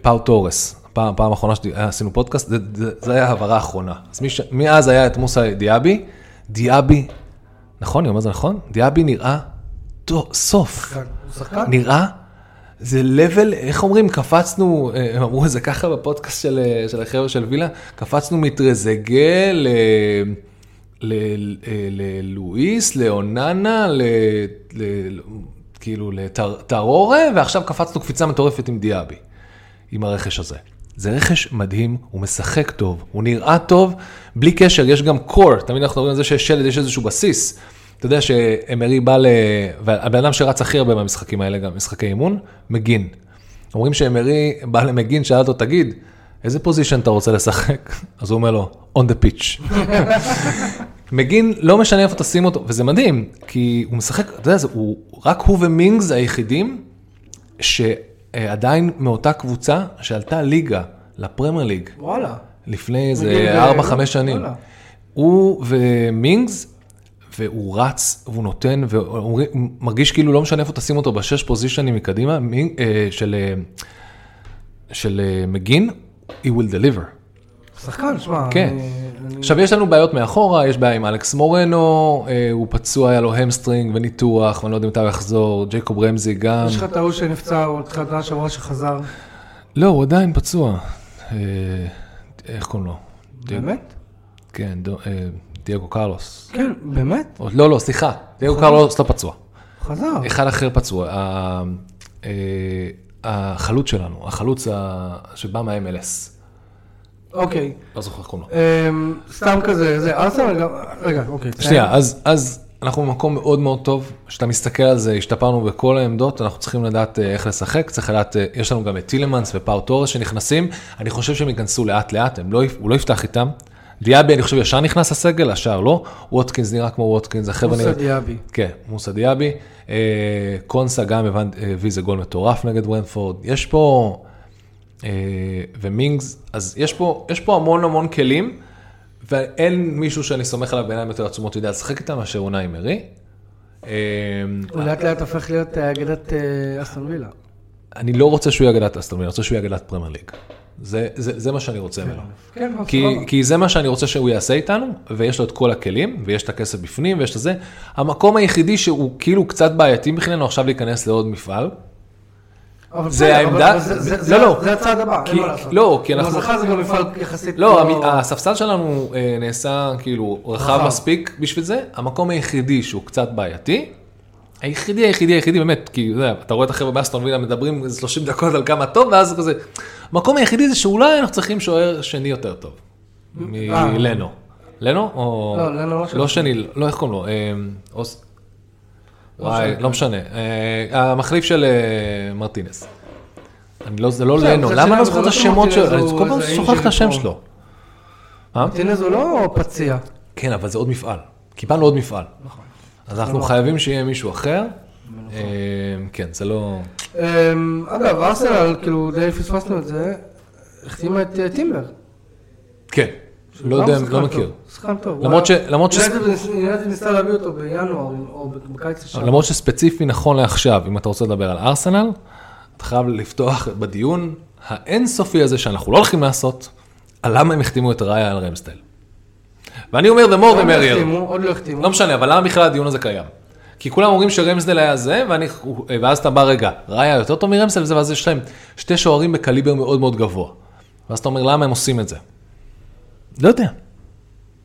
פאו תורס, פעם, פעם האחרונה שעשינו פודקאסט, זה, זה, זה היה ההעברה האחרונה. אז מי ש- מאז היה את מוסא דיאבי, דיאבי, נכון, אני אומר זה נכון? דיאבי נראה טוב, סוף.
שחקן, הוא שחקן?
נראה, זה לבל, איך אומרים, קפצנו, אה, הם אמרו את זה ככה בפודקאסט של, אה, של החבר'ה של וילה, קפצנו מטרזגה ל... ל- אה, ללואיס, לאוננה, ל... ל... כאילו לטרורה, ועכשיו קפצנו קפיצה מטורפת עם דיאבי, עם הרכש הזה. זה רכש מדהים, הוא משחק טוב, הוא נראה טוב, בלי קשר, יש גם core, תמיד אנחנו מדברים על זה שיש שלד, יש איזשהו בסיס. אתה יודע שאמרי בא ל... והבן אדם שרץ הכי הרבה מהמשחקים האלה, גם משחקי אימון, מגין. אומרים שאמרי בא למגין, שאל אותו, תגיד, איזה פוזיישן אתה רוצה לשחק? אז הוא אומר לו, on the pitch. מגין, לא משנה איפה תשים אותו, וזה מדהים, כי הוא משחק, אתה יודע, זה- הוא, רק הוא ומינגס היחידים שעדיין מאותה קבוצה שעלתה ליגה לפרמייר ליג
וואלה.
לפני
מגין
איזה
ו-
4-5 שנים.
וואלה.
הוא ומינגס, והוא רץ, והוא נותן, והוא מרגיש כאילו לא משנה איפה תשים אותו בשש פוזיישנים מקדימה, מינג- אה, של, אה, של אה, מגין, he will deliver.
שחקן, שמע.
כן.
אני- אני-
עכשיו יש לנו בעיות מאחורה, יש בעיה עם אלכס מורנו, אה, הוא פצוע, היה לו המסטרינג וניתוח, ואני לא יודע מתי הוא יחזור, ג'ייקוב רמזי גם.
יש לך את ההוא שנפצע, או התחילת העונה שעברה שחזר.
לא, הוא עדיין פצוע. אה, איך קוראים לו? דיאגו-
באמת?
כן, דו- אה, דייגו קרלוס.
כן, באמת?
או- לא, לא, סליחה, דייגו קרלוס לא פצוע.
חזר.
אחד אחר פצוע. ה- אה, החלוץ שלנו, החלוץ ה- שבא מה-MLS.
אוקיי.
לא זוכר איך קוראים לו.
אמ, סתם כזה, זה ארסנל גם... רגע, אוקיי.
שנייה, אז, אז אנחנו במקום מאוד מאוד טוב, כשאתה מסתכל על זה, השתפרנו בכל העמדות, אנחנו צריכים לדעת אה, איך לשחק, צריך לדעת, אה, יש לנו גם את טילמנס ופאו טורס שנכנסים, אני חושב שהם ייכנסו לאט לאט, הם לא, יפ- הוא לא יפתח איתם. דיאבי, אני חושב, ישר נכנס לסגל, השאר לא. ווטקינס נראה כמו ווטקינס, החבר'ה
מוסא
נראה...
דיאבי.
כן, מוסא דיאבי. אה, קונסה גם הבנ- אה, הביא איזה גול מטורף נגד ברנפורד. יש פה... אה, ומינגס, אז יש פה, יש פה המון המון כלים, ואין מישהו שאני סומך עליו בעיניים יותר עצומות יודע לשחק איתם מאשר אונאי מרי. אה,
הוא לאט לאט הופך להיות אה, אגדת אה, אסטון וילה.
אני לא רוצה שהוא יהיה אגדת אסטון וילה, אני רוצה שהוא יהיה אגדת פרמייר ליג. זה, זה, זה מה שאני רוצה ממנו.
כן, לא,
כי,
סבבה.
כי זה מה שאני רוצה שהוא יעשה איתנו, ויש לו את כל הכלים, ויש את הכסף בפנים, ויש את זה. המקום היחידי שהוא כאילו קצת בעייתי מבחיננו עכשיו להיכנס לעוד מפעל,
אבל
זה
בסדר,
העמדה?
אבל- אבל זה- זה-
לא,
זה-
לא.
זה הצעד הבא, אין
כי-
מה לעשות.
לא, כי אנחנו-
הוא זכה זה גם מפעל יחסית...
לא, המ- הספסל שלנו אה, נעשה כאילו רחב
רחב.
מספיק בשביל זה, המקום היחידי שהוא קצת בעייתי, היחידי, היחידי, היחידי, באמת, כי אתה יודע, אתה רואה את החבר'ה באסטון וילה מדברים איזה 30 דקות על כמה טוב, ואז כזה, המקום היחידי זה שאולי אנחנו צריכים שוער שני יותר טוב,
אה.
מלנו. לנו? או...
לא, לנו לא
לא
שני.
שני, לא, איך קוראים לו? אה, אוס...
לא
וואי,
משנה.
לא משנה. אה, המחליף של אה, מרטינס. אני לא, זה לא
בסדר,
לנו,
מצד
למה אני
שני,
לא זוכר את
אבל לא
השמות שלו?
שמרטינס
אני
הוא
כל פעם
איזה
שוכח את
אינג'ל
השם
פה.
שלו. אה?
טינז הוא לא פציע.
כן, אבל זה עוד מפעל. קיבלנו עוד מפעל.
נכון.
אז אנחנו
נכון.
חייבים שיהיה מישהו אחר. אה, כן, זה לא...
אמ, אגב, ארסנל, כאילו, די פספסנו את זה, החתימה את אה, טימבר.
כן, לא
גם
יודע,
שחקן
לא
טוב,
מכיר.
שחקן טוב.
למרות ש- למרות ש-
ידעתי ניסה להביא אותו בינואר, או בקיץ השנה.
למרות שספציפי נכון לעכשיו, אם אתה רוצה לדבר על ארסנל, אתה חייב לפתוח בדיון האינסופי הזה שאנחנו לא הולכים לעשות, על למה הם החתימו את ראיה על רמסטייל. ואני אומר, the more the
עוד לא
merrier.
החתימו, עוד לא החתימו.
לא משנה, אבל למה בכלל הדיון הזה קיים? כי כולם אומרים שרמסדל היה זה, ואני, ואז אתה בא, רגע, ראיה יותר טוב מרמסדל וזה, ואז יש להם שתי שוערים בקליבר מאוד מאוד גבוה. ואז אתה אומר, למה הם עושים את זה? לא יודע.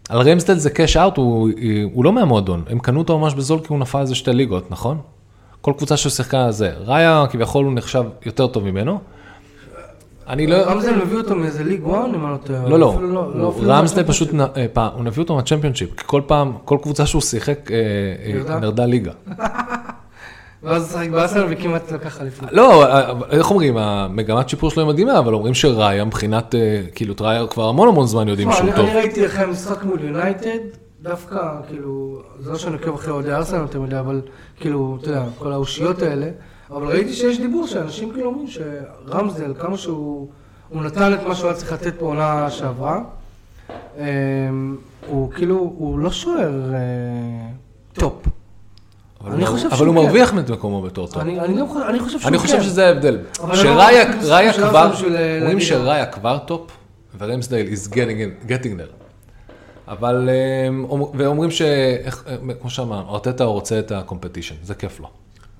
על רמסדל זה קאש אאוט, הוא, הוא לא מהמועדון, הם קנו אותו ממש בזול כי הוא נפל איזה שתי ליגות, נכון? כל קבוצה ששיחקה על זה. ראיה כביכול הוא נחשב יותר טוב ממנו. אני לא...
רמזל מביא אותו מאיזה ליג וואן, אם אני לא טועה.
לא, לא,
אפילו לא,
הוא-
אפילו
רמסדל
לא-
פשוט, נ- אה, פעם- הוא נביא אותו מהצ'מפיונשיפ, כי כל פעם, כל קבוצה שהוא שיחק, אה, אה,
ירדה?
נרדה ליגה.
ואז הוא שיחק בארסנל וכמעט לקח אליפות.
לא, אה, אבל איך אומרים, המגמת שיפור שלו היא מדהימה, אבל אומרים שראיה מבחינת, אה, כאילו, את ראיה כבר המון המון זמן יודעים
תשמע,
שהוא
לא, אני-
טוב.
אני ראיתי אחרי המשחק מול יונייטד, דווקא, כאילו, זה לא שאני עוקב אחרי אוהדי ארסנל יותר מדי, אבל כאילו, אתה יודע, כל האושיות האלה, אבל ראיתי שיש דיבור שאנשים כאילו אומרים שרמזל, כמה שהוא, הוא נתן את מה שהוא היה צריך לתת בעונה שעברה, אה, הוא כאילו, הוא לא שוער אה, טופ.
אבל
אני
הוא-
חושב
אבל
שהוא
הוא
כן.
מרוויח את מקומו בתור טוב.
אני, אני, גם, חושב- אני חושב שהוא
אני
כן.
חושב שזה ההבדל.
אבל אני לא
שראיה
חושב
ראיה
שזה
כבר,
עושה בשביל, אה,
אומרים
להגיד-
שראיה כבר טופ, ורמסדייל is getting, in- getting there. אבל, אה, אומ- ואומרים ש... איך- אה, כמו שאמרנו, ארטטה רוצה את הקומפטישן, זה כיף לו.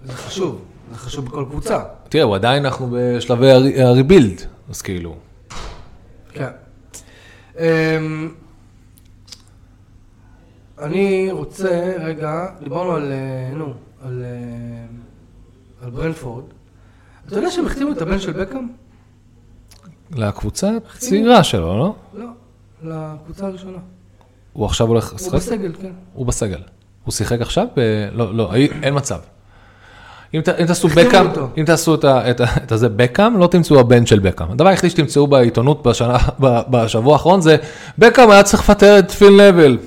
זה חשוב, זה חשוב בכל קבוצה.
תראה, הוא עדיין אנחנו בשלבי הר- הריבילד, אז כאילו,
כן. אמ, אני רוצה, רגע, דיברנו על, אה, נו, על, אה, על ברנפורד. אתה יודע שהם החתימו את הבן של בקאם?
לקבוצה הצעירה שלו, לא?
לא, לקבוצה הראשונה.
הוא עכשיו הולך
הוא
לשחק?
בסגל, כן.
הוא בסגל. הוא שיחק עכשיו? ב... לא, לא, אי- אין מצב. אם, ת, אם תעשו
החתימו
בקאם,
אותו.
אם תעשו את, ה- את, ה- את הזה בקאם, לא תמצאו הבן של בקאם. הדבר היחיד שתמצאו בעיתונות בשנה, ב, בשבוע האחרון זה, בקאם היה צריך לפטר את פיל נבל.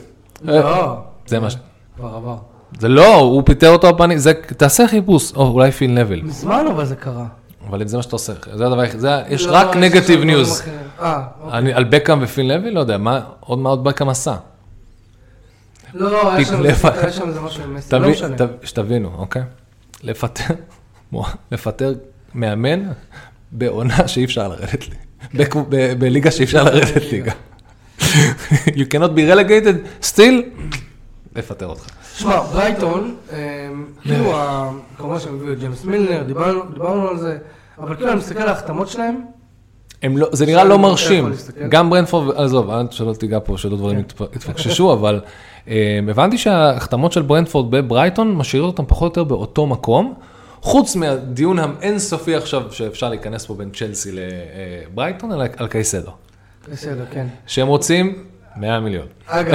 אה,
לא,
זה מה ש...
כבר עבר.
זה לא, הוא פיטר אותו בפנים, זה, תעשה חיפוש, או אולי פיל נבל.
מזמן אבל זה קרה.
אבל זה מה שאתה עושה, זה הדבר היחיד, זה, יש
לא,
רק נגטיב
דברים
ניוז.
אחרים. אה, אוקיי.
אני, על בקאם ופיל נבל, לא יודע, מה, עוד מה עוד בקאם עשה?
לא, לא, היה שם-
תתלף.
היה שם איזה משהו עם מסי, לא
תבין-
משנה.
ת- שתבינו, אוקיי? לפטר, וואו, לפטר מאמן בעונה שאי אפשר לרדת לי. בקו- ב- בליגה שאי אפשר לרדת לי גם. You cannot be relegated, still, לפטר אותך.
שמע, ברייטון, אמ, כאילו, ה- כמובן שהם הביאו את ג'יימס מילנר, דיברנו דיברנו על זה, אבל כאילו, אני מסתכל על ההחתמות שלהם,
הם לא, זה נראה לא
שאני לא
מרשים,
יכול להסתכל. כן.
גם ברנפורד, עזוב, אל שלא תיגע פה, שלא דברים יתפ- יתפקששו, אבל אה, הבנתי שההחתמות של ברנפורד בברייטון משאירות אותם פחות או יותר באותו מקום, חוץ מהדיון האינסופי עכשיו שאפשר להיכנס פה בין צ'לסי לברייטון, אלא על קייסדו,
בסדר, כן.
שהם רוצים 100 מיליון.
אגב,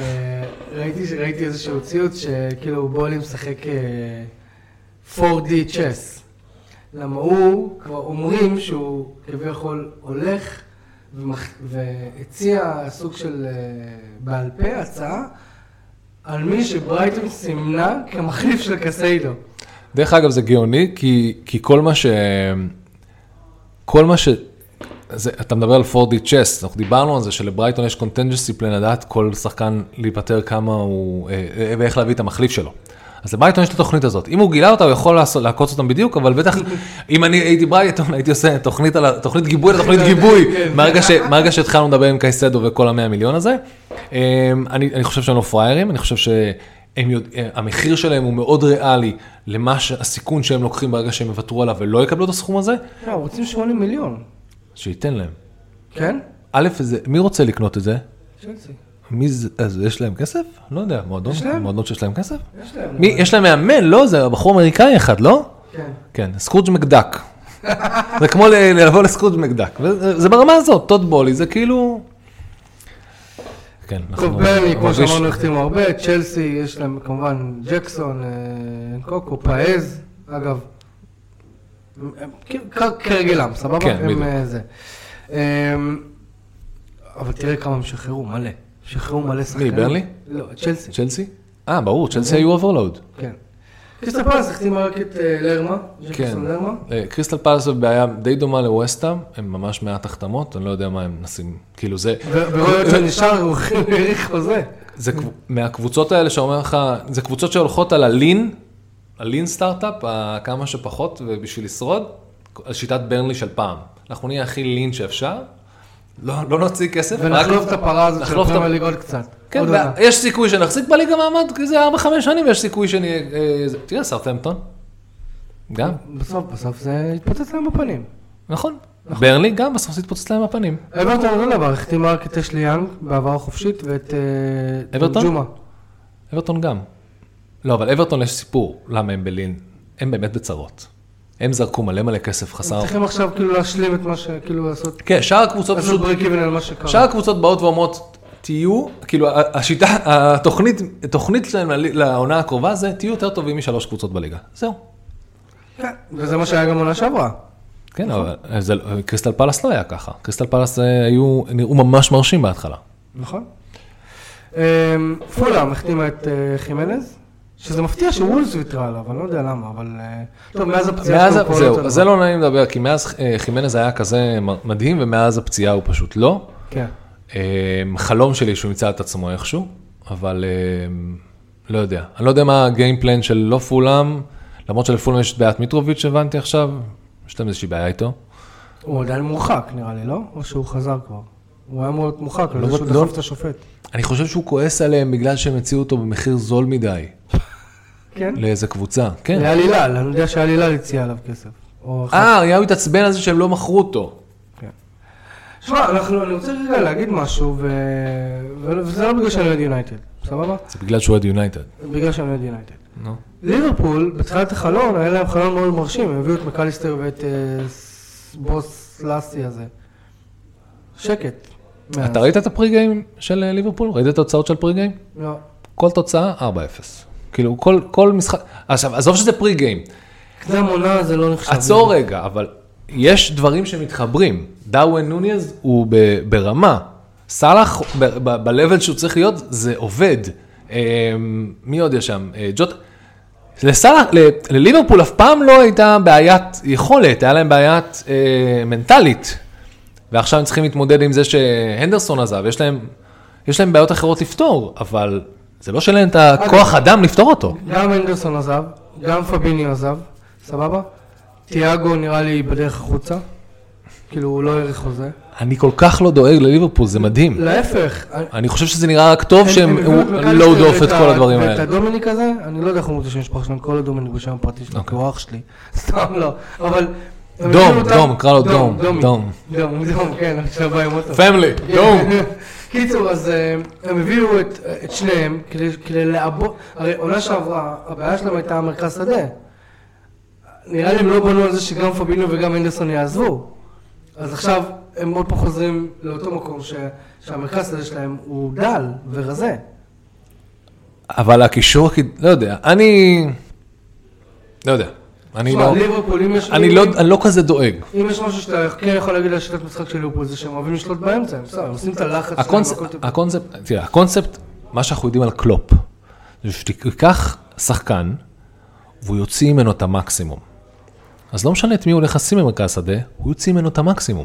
אה, ראיתי ש- ראיתי איזשהו ציוץ שכאילו בולי משחק אה, 4D צ'ס. למה הוא, כבר אומרים שהוא כביכול הולך ומח- והציע סוג של אה, בעל פה הצעה על מי שברייטון סימנה כמחליף של קסיידו.
דרך אגב, זה גאוני, כי, כי כל מה ש... כל מה ש... זה, אתה מדבר על 4D צ'ס, אנחנו דיברנו על זה שלברייטון יש קונטנג'סי פלן לדעת כל שחקן להיפטר כמה הוא, אה, אה, ואיך להביא את המחליף שלו. אז לברייטון יש את התוכנית הזאת, אם הוא גילה אותה הוא יכול לעשות, לעקוץ אותם בדיוק, אבל בטח אם אני הייתי ברייטון הייתי עושה תוכנית, על, ה- תוכנית גיבוי לתוכנית גיבוי,
כן.
מהרגע, ש, מהרגע שהתחלנו לדבר עם קייסדו וכל המאה מיליון הזה. אה, אני, אני חושב שהם לא פראיירים, אני חושב שהם יודע, אה, המחיר שלהם הוא מאוד ריאלי למה שהסיכון שהם לוקחים ברגע שהם יוותרו עליו ולא יקבלו את הסכום הזה,
לא, רוצים 80 מיליון,
שייתן להם.
כן?
א', זה, מי רוצה לקנות את זה?
צ'לסי.
מי זה, אז יש להם כסף? לא יודע, מועדון,
יש להם.
מועדון שיש להם כסף?
יש להם.
מי, יש להם מאמן, לא? זה הבחור אמריקאי אחד, לא?
כן.
כן, סקרוג' מקדק. זה כמו ל- לבוא לסקרוג' מקדק. וזה- זה ברמה הזאת, טוד בולי, זה כאילו... כן,
טוב, ברני, כמו
מרגיש-
שאמרנו, החתימו הרבה, צ'לסי, יש להם כמובן ג'קסון, אה, קוקו, פאז, אגב, הם- הם כאילו כ- כרגלם, סבבה?
כן,
הם,
בדיוק.
אה, זה. אמ, אבל תראה כמה הם שחררו, מלא. שחררו מלא שחקנים.
ברנלי?
לא, צ'לסי,
צ'לסי? אה, ברור, צ'לסי היו אוברלואוד.
כן. קריסטל פלס החתימה רק את אה, לרמה,
כן.
ג'קסון לרמה.
אה, קריסטל פלס זו בעיה די דומה לווסטאם, הם ממש מעט החתמות, אני לא יודע מה הם מנסים, כאילו זה...
ו- ורואה אותו נשאר, הוא האריך חוזה.
זה קב- מהקבוצות האלה שאומר לך, זה קבוצות שהולכות על הלין, הלין סטארט-אפ, ה- כמה שפחות, ובשביל לשרוד, על שיטת ברנלי של פעם. אנחנו נהיה הכי לין שאפשר, לא, לא נוציא כסף,
ונחלוף את הפרה הזאת של
נחלוף את ה-
הפרמייר ליג עוד קצת.
כן,
עוד
ו-
עונה.
יש סיכוי שנחזיק בליגה מעמד, כי זה 4-5 שנים, יש סיכוי שנהיה... אה, זה- תראה, סרטמפטון. גם,
בסוף, בסוף זה התפוצץ להם בפנים.
נכון. ברנלי גם בסוף זה התפוצץ להם בפנים.
אברטון אותו דבר, החתימה רק את אשלי יאנג בעבר חופשית ואת אה,
אברטון?
ג'ומה.
אברטון גם. לא, אבל אברטון יש סיפור, למה הם בלין. הם באמת בצרות. הם זרקו מלא מלא כסף
הם
חסר.
צריכים עכשיו כאילו להשלים את מה ש... כאילו לעשות...
כן, שאר הקבוצות
לעשות
פשוט...
ברייק איבן על מה שקרה.
שאר הקבוצות באות ואומרות, תהיו, כאילו ה- השיטה, התוכנית, התוכנית שלהם ל- לעונה הקרובה זה, תהיו יותר טובים משלוש קבוצות בליגה. זהו.
כן, וזה מה שהיה גם עונה שעברה.
כן, אבל זה, קריסטל לא אה, פלס לא היה ככה. קריסטל פלס אה, היו, נראו ממש מרשים בהתחלה.
נכון. אמ, אמ, פולאם החתימה את אה, חימנז, שזה מפתיע שוולס ויתרה עליו, אני לא יודע למה, אבל... אה, טוב, מאז הפציעה
מאז,
שלו הוא פועל
זהו,
אותו
זה
דבר.
לא נעים לדבר, כי מאז אה, חימנז היה כזה מ- מדהים, ומאז הפציעה הוא פשוט לא.
כן.
אה, חלום שלי שהוא ימצא את עצמו איכשהו, אבל אה, לא יודע. אני לא יודע מה הגיימפלן של לא פולאם, למרות שלפולאם יש את בעיית מיטרוביץ' הבנתי עכשיו, יש להם איזושהי בעיה איתו.
הוא עדיין מורחק נראה לי, לא? או שהוא חזר כבר. הוא היה אמור להיות מורחק, על
לא
זה שהוא
בטוח.
דחף את השופט.
אני חושב שהוא כועס עליהם בגלל שהם הציעו אותו במחיר זול מדי
כן?
לאיזה קבוצה, כן.
היה לילל, אני יודע שהיה לילל הציע עליו כסף. או אחת
אה, אליהו התעצבן על זה שהם לא מכרו אותו.
שמע, אנחנו, אני רוצה רגע להגיד משהו, ו... ו- וזה לא בגלל שאני אוהד יונייטד, סבבה?
זה בגלל שהוא אוהד יונייטד.
בגלל שאני אוהד יונייטד.
נו.
ליברפול, בתחילת החלון, היה להם חלון מאוד מרשים, הם הביאו את מקליסטר ואת אה, ס- בוס לאסי הזה. שקט. מאז.
אתה ראית את הפרי גיים של אה, ליברפול? ראית את התוצאות של פרי גיים?
לא.
כל תוצאה 4-0. כאילו כל, כל משחק, עכשיו עזוב שזה פרי גיים,
קדם עונה זה לא נחשב.
עצור רגע, אבל יש דברים שמתחברים. דאוון נוניז הוא ב, ברמה, סאלח ב- ב- ב-level שהוא צריך להיות, זה עובד. אה, מי עוד יש שם? אה, ג'וט... לסאלח, ל- לליברפול אף פעם לא הייתה בעיית יכולת, היה להם בעיית אה, מנטלית. ועכשיו הם צריכים להתמודד עם זה שהנדרסון עזב, יש להם, יש להם בעיות אחרות לפתור, אבל זה לא שאין להם את הכוח אדם לפתור אותו.
גם אנדרסון עזב, גם פביניו עזב, סבבה? תיאגו נראה לי בדרך החוצה. כאילו, הוא לא העריך חוזה.
אני כל כך לא דואג לליברפול, זה מדהים.
להפך,
אני חושב שזה נראה רק טוב שהם
הביאו את מקליסטר
לואוד אוף את
ואת
כל
ה-
הדברים
ואת
האלה.
הדומיניק הזה, אני לא יודע איך הוא מוצא שם משפחה שלו, אני קורא לו דומיניק בשם הפרטי שלו, כי הוא אח שלי, סתם לא, אבל... הם
אוקיי. דום,
הביאו אותם-
דום, קרא לו דום,
דומי.
דום.
דום, דום, כן, עכשיו בא עם אותו.
פמילי, דום.
קיצור, אז אה, הם הביאו את אה, את שניהם כדי- כדי לעבוד, הרי עונה שעברה, הבעיה שלהם הייתה מרכז שדה. נראה לי הם לא בנו על זה שגם פבינו וגם אנדרסון יעזבו. אז עכשיו הם עוד פעם חוזרים לאותו מקום ש- שהמרכז שדה שלהם הוא דל ורזה.
אבל הקישור, הכי- לא יודע, אני... לא יודע. אני
תשמע,
לא...
ליברפול, אם יש...
אני לא, אני לא כזה דואג.
אם יש משהו שאתה כן יכול להגיד על שיטת משחק של ליברפול, זה שהם אוהבים לשלוט באמצע, הם בסדר, הם עושים את הלחץ שלהם,
הקונספט,
והכל טוב.
הקונספט, תראה, הקונספט, מה שאנחנו יודעים על קלופ, זה שתיקח שחקן, והוא יוציא ממנו את המקסימום. אז לא משנה את מי הוא הולך לשים במרכז שדה, הוא יוציא ממנו את המקסימום.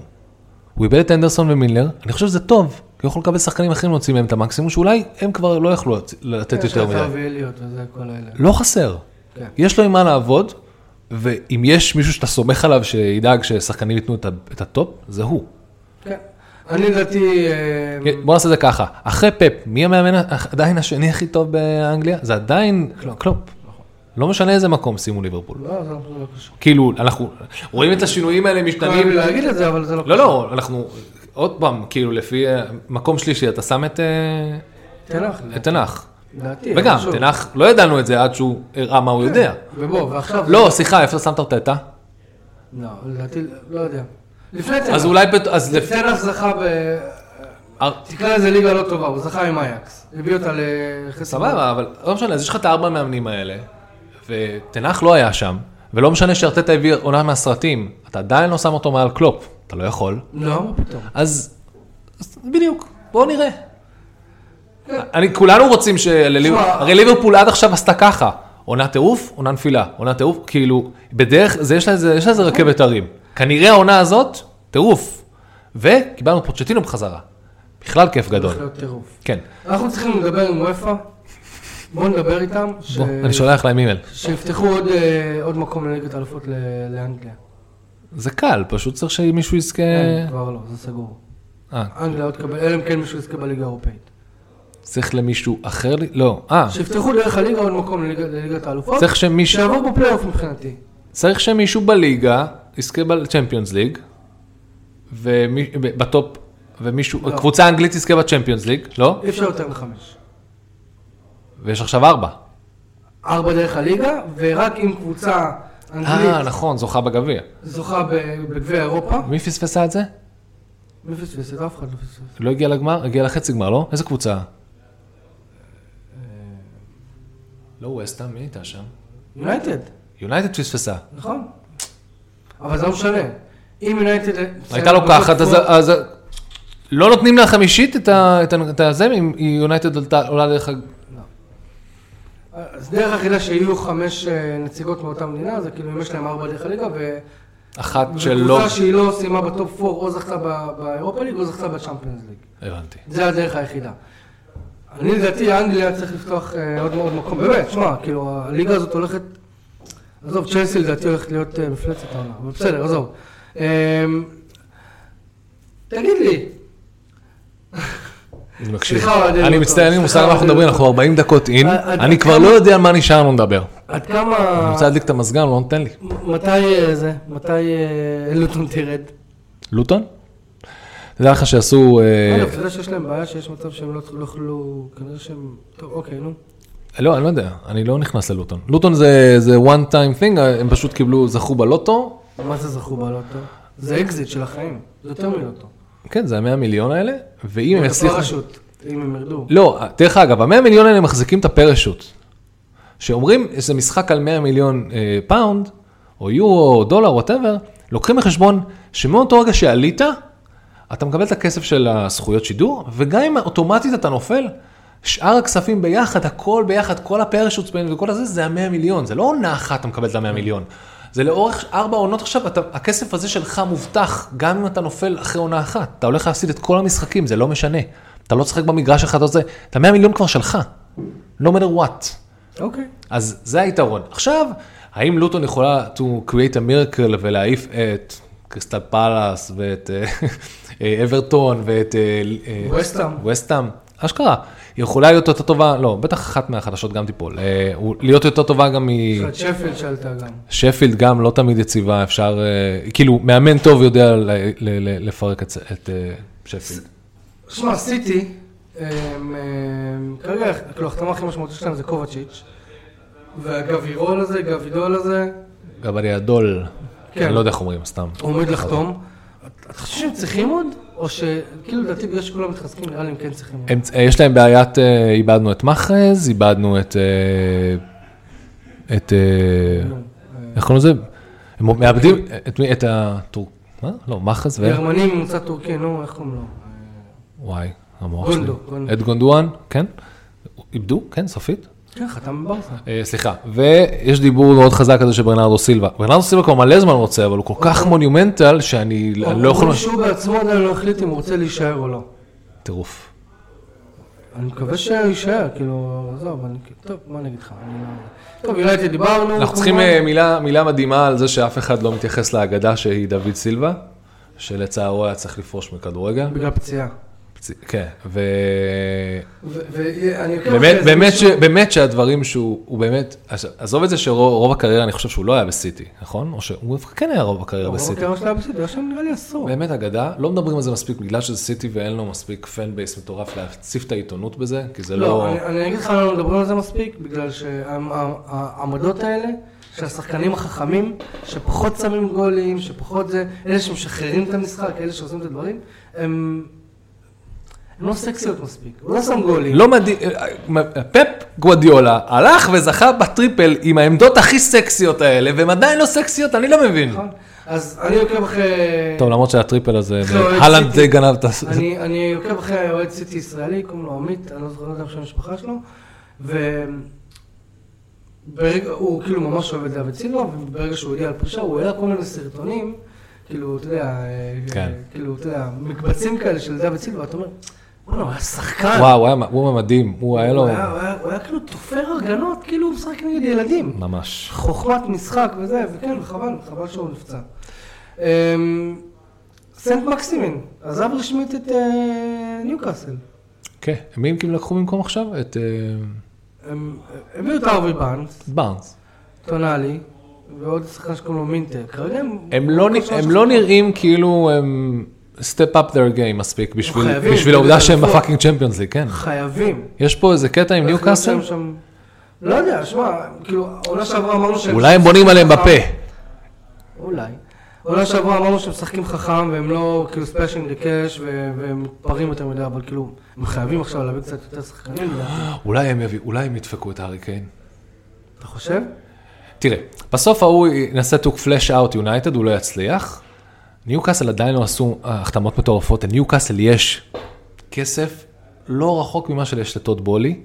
הוא איבד את אנדרסון ומילנר, אני חושב שזה טוב, כי הוא יכול לקבל שחקנים אחרים להוציא מהם את המקסימום, שאולי הם כבר לא יכלו להוציא- לתת
יש לך
יותר מדי.
ואליוט וזה כל האלה.
לא חסר.
כן.
יש לו עם מה לעבוד, ואם יש מישהו שאתה סומך עליו שידאג ששחקנים ייתנו את ה- את הטופ, זה הוא.
כן. אני לדעתי... אה,
כן, בוא נעשה את זה ככה, אחרי פפ, מי המאמן ה- עדיין השני הכי טוב באנגליה? זה עדיין קלופ. לא משנה איזה מקום שימו ליברפול.
לא, זה לא קשור.
כאילו, אנחנו רואים את השינויים האלה
כואב
משתנים.
לי להגיד את זה, אבל זה לא
לא, לא, אנחנו, עוד פעם, כאילו, לפי אה, מקום שלישי, אתה שם את אה,
תנח,
את תנח.
לדעתי.
וגם,
אבל כן, שוב.
תנח, לא ידענו את זה עד שהוא הראה מה הוא יודע.
ובוא, ועכשיו...
לא, סליחה, איפה שמת אותה?
לא, לדעתי, לא יודע. לפני תנח.
אז אולי, פת- אז לפי...
תנח זכה ב... תקרא לזה ליגה לא טובה, הוא זכה עם אייקס. הביא אותה לחסר.
סבבה, אבל לא משנה, אז יש לך את הארבע מאמנים האלה, ותנח לא היה שם, ולא משנה שארטטה הביא עונה מהסרטים, אתה עדיין לא שם אותו מעל קלופ, אתה לא יכול,
לא, מה פתאום.
אז, אז בדיוק, בואו נראה. אני, כולנו רוצים שלליברפול,
תשמע-
הרי ליברפול עד עכשיו עשתה ככה, עונה טירוף, עונה נפילה, עונה טירוף, כאילו, בדרך, זה יש לה איזה יש לה איזה רכבת הרים. כנראה העונה הזאת, טירוף. וקיבלנו את פוצ'טינו בחזרה. בכלל כיף גדול.
הולך להיות טירוף.
כן.
אנחנו צריכים לדבר עם וופא, בואו נדבר איתם, ש-
בוא, אני שולח להם אימייל.
שיפתחו עוד, אה, עוד מקום לליגת האלופות ל- לאנגליה.
זה קל, פשוט צריך שמישהו יזכה...
אין, כבר לא, זה סגור.
אה,
אנגליה עוד תקבל, אלא אם כן מישהו יזכה בליגה האירופאית.
צריך למישהו אחר? ל- לא, אה,
שיפתחו דרך הליגה עוד מקום לליגה- לליגת האלופות,
צריך שמישהו,
שיעבור בפלייאוף מבחינתי.
צריך שמישהו בליגה יזכה בצ'מפיונס ליג, ומי- ב- בטופ, ומישהו,
לא.
קבוצה אנגלית תזכה בצ'מפיונס ליג, לא?
אי אפשר יותר מחמש.
ויש עכשיו ארבע.
ארבע דרך הליגה, ורק אם קבוצה
אה,
אנגלית
נכון, זוכה בגביע.
זוכה ב- בגביע אירופה,
מי פספסה את זה?
מי פספס את אף אחד לא פספס.
לא הגיע לגמר? הגיע לחצי גמר, לא? איזה
אה,
קבוצה? לא ווסטהאם, מי הייתה שם?
יונייטד,
יונייטד פספסה.
נכון. אבל זה לא משנה. אם יונייטד...
הייתה לוקחת, אז- אז... לא נותנים לה חמישית את ה- את ה- את הזה, אם יונייטד עלתה- עולה דרך ה...
אז דרך היחידה שיהיו חמש אה, נציגות מאותה מדינה, זה כאילו אם יש להם ארבע דרך הליגה, ו...
אחת שלא...
וקבוצה שהיא לא סיימה בטופ 4, או זכתה ב- באירופה ליג, או זכתה בצ'מפיונס ליג.
הבנתי.
זה הדרך היחידה. אני לדעתי, אנגליה צריך לפתוח אה, עוד מאוד מקום, באמת, שמע, כאילו, הליגה הזאת הולכת... עזוב, צ'לסי לדעתי הולכת להיות אה, מפלצת העונה, אבל בסדר, עזוב. אמ, תגיד לי,
אני מקשיב.
סליחה, לא אוהדי
אני
לוטון,
מצטער, אין לי
סליחה,
מושג על מה אנחנו
אוהדי
מדברים,
לוטון.
אנחנו 40 דקות אין,
עד- עד
אני כבר
כמה-
לא יודע על מה נשאר לנו לדבר.
עד כמה...
אני רוצה להדליק את המזגן, לא נותן לי.
מ- מתי אה, זה? מתי אה, לוטון תרד?
לוטון? תדע לך שעשו... אה,
אגב, אתה יודע שיש להם בעיה שיש מצב שהם לא לא יוכלו, כנראה שהם... טוב, אוקיי, נו.
לא, אני לא יודע, אני לא נכנס ללוטון. לוטון זה זה one time thing, הם פשוט קיבלו, זכו בלוטו,
מה זה זכו בלוטו? זה אקזיט של החיים, זה יותר מלוטו.
כן, זה המאה מיליון האלה, ואם הם
זה לא
יצליחו...
פרשוט, אם הם ירדו.
לא, דרך אגב, המאה מיליון האלה מחזיקים את הפרשוט. שאומרים איזה משחק על 100 מיליון אה, פאונד, או יורו, או דולר, וואטאבר, לוקחים בחשבון שמאותו רגע שעלית, אתה מקבל את הכסף של הזכויות שידור, וגם אם אוטומטית אתה נופל, שאר הכספים ביחד, הכל ביחד, כל הפרשוט בין וכל הזה, זה המאה מיליון, זה לא עונה אחת אתה מקבל את המאה מיליון. זה לאורך ארבע עונות עכשיו, אתה, הכסף הזה שלך מובטח, גם אם אתה נופל אחרי עונה אחת. אתה הולך להפסיד את כל המשחקים, זה לא משנה. אתה לא צחק במגרש אחד או זה, את המאה מיליון כבר שלך. No matter what.
אוקיי.
אז זה היתרון. עכשיו, האם לוטון יכולה to create a miracle ולהעיף את קריסטל פאלאס ואת אה, אה, אברטון ואת... אה,
ווסטהאם.
וסטאם, אשכרה. היא יכולה להיות יותר טובה, לא, בטח אחת מהחדשות גם תיפול. אה, הוא- להיות יותר טובה גם
יש
מ...
לך את שפילד שעלתה גם.
שפילד גם לא תמיד יציבה, אפשר... אה, כאילו, מאמן טוב יודע ל- ל- ל- לפרק את את, אה, שפילד.
שמע, סיטי, הם, הם, כרגע, כאילו, החתמה הכי משמעותית שלהם זה קובצ'יץ', והגבירול הזה, גבידול הזה,
גם אני הדול,
כן.
אני לא יודע איך אומרים, סתם.
עומד לחתום. אתה חושב שהם צריכים עוד? או שכאילו לדעתי בגלל שכולם מתחזקים נראה לי הם כן צריכים עוד.
הם, יש להם בעיית, אה, איבדנו את מחרז, איבדנו את... אה, את... אה, איך קוראים לזה? הם מאבדים את מי? את הטור... מה? לא, מחרז ו...
גרמני ממוצע טורקי, נו, איך קוראים לו?
וואי, המוח שלי.
גונדו, גונדו.
את גונדואן, כן? איבדו, כן, סופית.
כן, חתם בברסה.
אה, סליחה, ויש דיבור מאוד חזק על זה של ברנרדו סילבה. ברנרדו סילבה כבר מלא זמן רוצה, אבל הוא כל כך מונומנטל, שאני אני לא יכול...
אומרים שהוא בעצמו עדיין לא החליט אם הוא רוצה להישאר או לא.
טירוף.
אני מקווה שיישאר, כאילו, עזוב, אני כאילו, טוב, מה אני אגיד לך, אני לא... טוב, יונייטד דיברנו.
אנחנו צריכים
כמובן.
אה, מילה, מילה מדהימה על זה שאף אחד לא מתייחס לאגדה שהיא דוד סילבה, שלצערו היה צריך לפרוש מכדורגל.
בגלל פציעה.
פצ- כן, ו...
ואני עוקב אחרי אוקיי,
באמת,
זה,
באמת, ש...
מישהו-
באמת שהדברים שהוא הוא באמת, אז- עזוב את זה שרוב רוב הקריירה, אני חושב שהוא לא היה בסיטי, נכון? או שהוא דווקא כן היה רוב הקריירה
הוא
בסיטי.
בקריירה שלה בסיטי, עכשיו נראה לי עשור.
באמת אגדה, לא מדברים על זה מספיק בגלל שזה סיטי ואין לו מספיק פן בייס מטורף להציף את העיתונות בזה, כי זה
לא,
לא...
אני- אני אגיד לך, לא מדברים על זה מספיק, בגלל שהעמדות האלה, של השחקנים החכמים, שפחות שמים גולים, שפחות זה, אלה שמשחררים את המשחק, אלה שעושים את הדברים, הם הם לא סקסיות מספיק. הוא לא שם גולים.
לא מדהים, פפ גוואדיולה הלך וזכה בטריפל עם העמדות הכי סקסיות האלה, והן עדיין לא סקסיות, אני לא מבין.
נכון? אז אני עוקב אחרי...
טוב, למרות שהטריפל הזה, אה,
אחרי אוהד
הלנד
סיטי.
גנב את ה...
לא, אני, אני עוקב אחרי אוהד סיטי ישראלי, קוראים לו עמית, אני לא זוכר לא יודע עכשיו המשפחה שלו, והוא כאילו ממש אוהב את דוד סילבה, וברגע שהוא הודיע על פרישה, הוא העלה כל מיני סרטונים, כאילו, אתה יודע, אה,
כן.
כאילו, אתה יודע, מקבצים כאלה של דוד סילבה, אתה אומר, בוא'נה, הוא היה שחקן.
וואו, הוא היה מ- הוא היה מדהים, הוא היה לו...
הוא היה- הוא היה- הוא היה כאילו תופר הגנות, כאילו הוא משחק נגד ילדים.
ממש.
חוכמת משחק וזה, וכן, חבל, חבל שהוא נפצע. אמ, סנט מקסימין, עזב רשמית את אה, ניוקאסל.
כן, מי הם כאילו לקחו במקום עכשיו? את אה,
הם הביאו את ארווי באנס,
בארנס.
טונאלי, ועוד שחקן שקוראים לו מינטר. כרגע הם...
הם לא נ- הם לא נראים כאילו הם step up their game מספיק בשביל-
חייבים, כאילו,
בשביל
בשביל
העובדה שהם
האליפות.
בפאקינג צ'מפיונס ליג, כן.
חייבים.
יש פה איזה קטע עם ניוקאסל?
הם שם- לא יודע, שמע, כאילו, העונה שעברה אמרנו שהם...
אולי הם בונים עליהם בפה.
אולי. עונה שעברה אמרנו שהם משחקים חכם והם לא כאילו ספיישינג לקאש ו- והם מתפרעים יותר מדי, אבל כאילו, הם חייבים עכשיו להביא קצת יותר שחקנים, לדעתי.
אולי הם יביאו, אולי הם ידפקו את הארי קיין.
אתה חושב?
תראה, בסוף ההוא ינסה to flash out United, הוא לא יצליח, ניוקאסל עדיין לא עשו אה, החתמות מטורפות, לניוקאסל יש כסף לא רחוק ממה שיש לטוד בולי,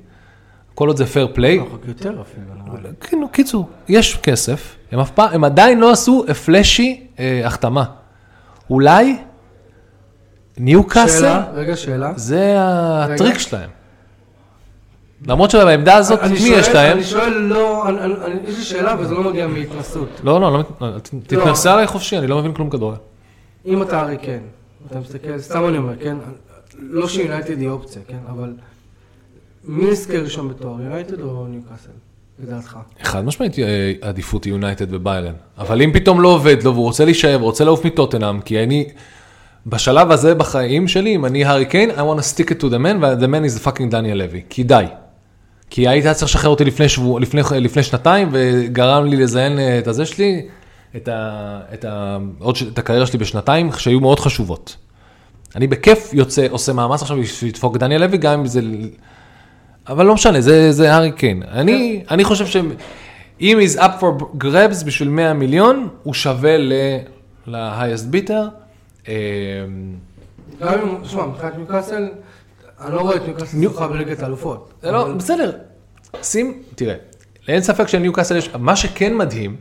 כל עוד זה פייר פליי.
רחוק יותר אפילו. נראה לי.
כן, נו, קיצור, יש כסף, הם אף פעם, הם עדיין לא עשו הפלשי אה, החתמה. אולי ניוקאסל,
שאלה, רגע, שאלה.
זה הטריק
רגע.
שלהם. למרות שבעמדה הזאת,
אני
מי
שואל-
יש להם?
אני שואל, לא, אני- אני- אני- יש לי שאלה וזה לא מגיע מהתנסות.
לא, לא, לא, מת- לא, ת- תתנסה עליי חופשי, אני לא מבין כלום כדורגל.
אם אתה הרי כן, אתה מסתכל, סתם אני אומר, כן, לא שיונייטד היא אופציה, כן, אבל מי יזכה ראשון בתואר, יונייטד או ניוקאסל, לדעתך?
חד משמעית אה, עדיפות יונייטד וביירן. אבל אם פתאום לא עובד לו והוא רוצה להישאר, רוצה לעוף מטוטנאם, כי אני, בשלב הזה בחיים שלי, אם אני הארי קיין, I want to stick it to the man, and the man is the fucking דניאל לוי. כי די. כי היית צריך לשחרר אותי לפני, שבוע, לפני, לפני שנתיים, וגרם לי לזיין אה, את הזה שלי, את, ה, את, ה, עוד, ש- את הקריירה שלי בשנתיים, שהיו מאוד חשובות. אני בכיף יוצא, עושה מאמץ עכשיו בשביל לדפוק דניאל לוי, גם אם זה... אבל לא משנה, זה, זה הארי קיין. אני, אני חושב שאם he's up for grabs בשביל 100 מיליון, הוא שווה ל-highest bitter. אה,
גם אם, שמע, מבחינת ניוקאסל, אני לא רואה את ניוקאסל זוכה בליגת האלופות.
זה לא,
אבל-
בסדר. שים, תראה, אין ספק שניוקאסל יש, מה שכן מדהים,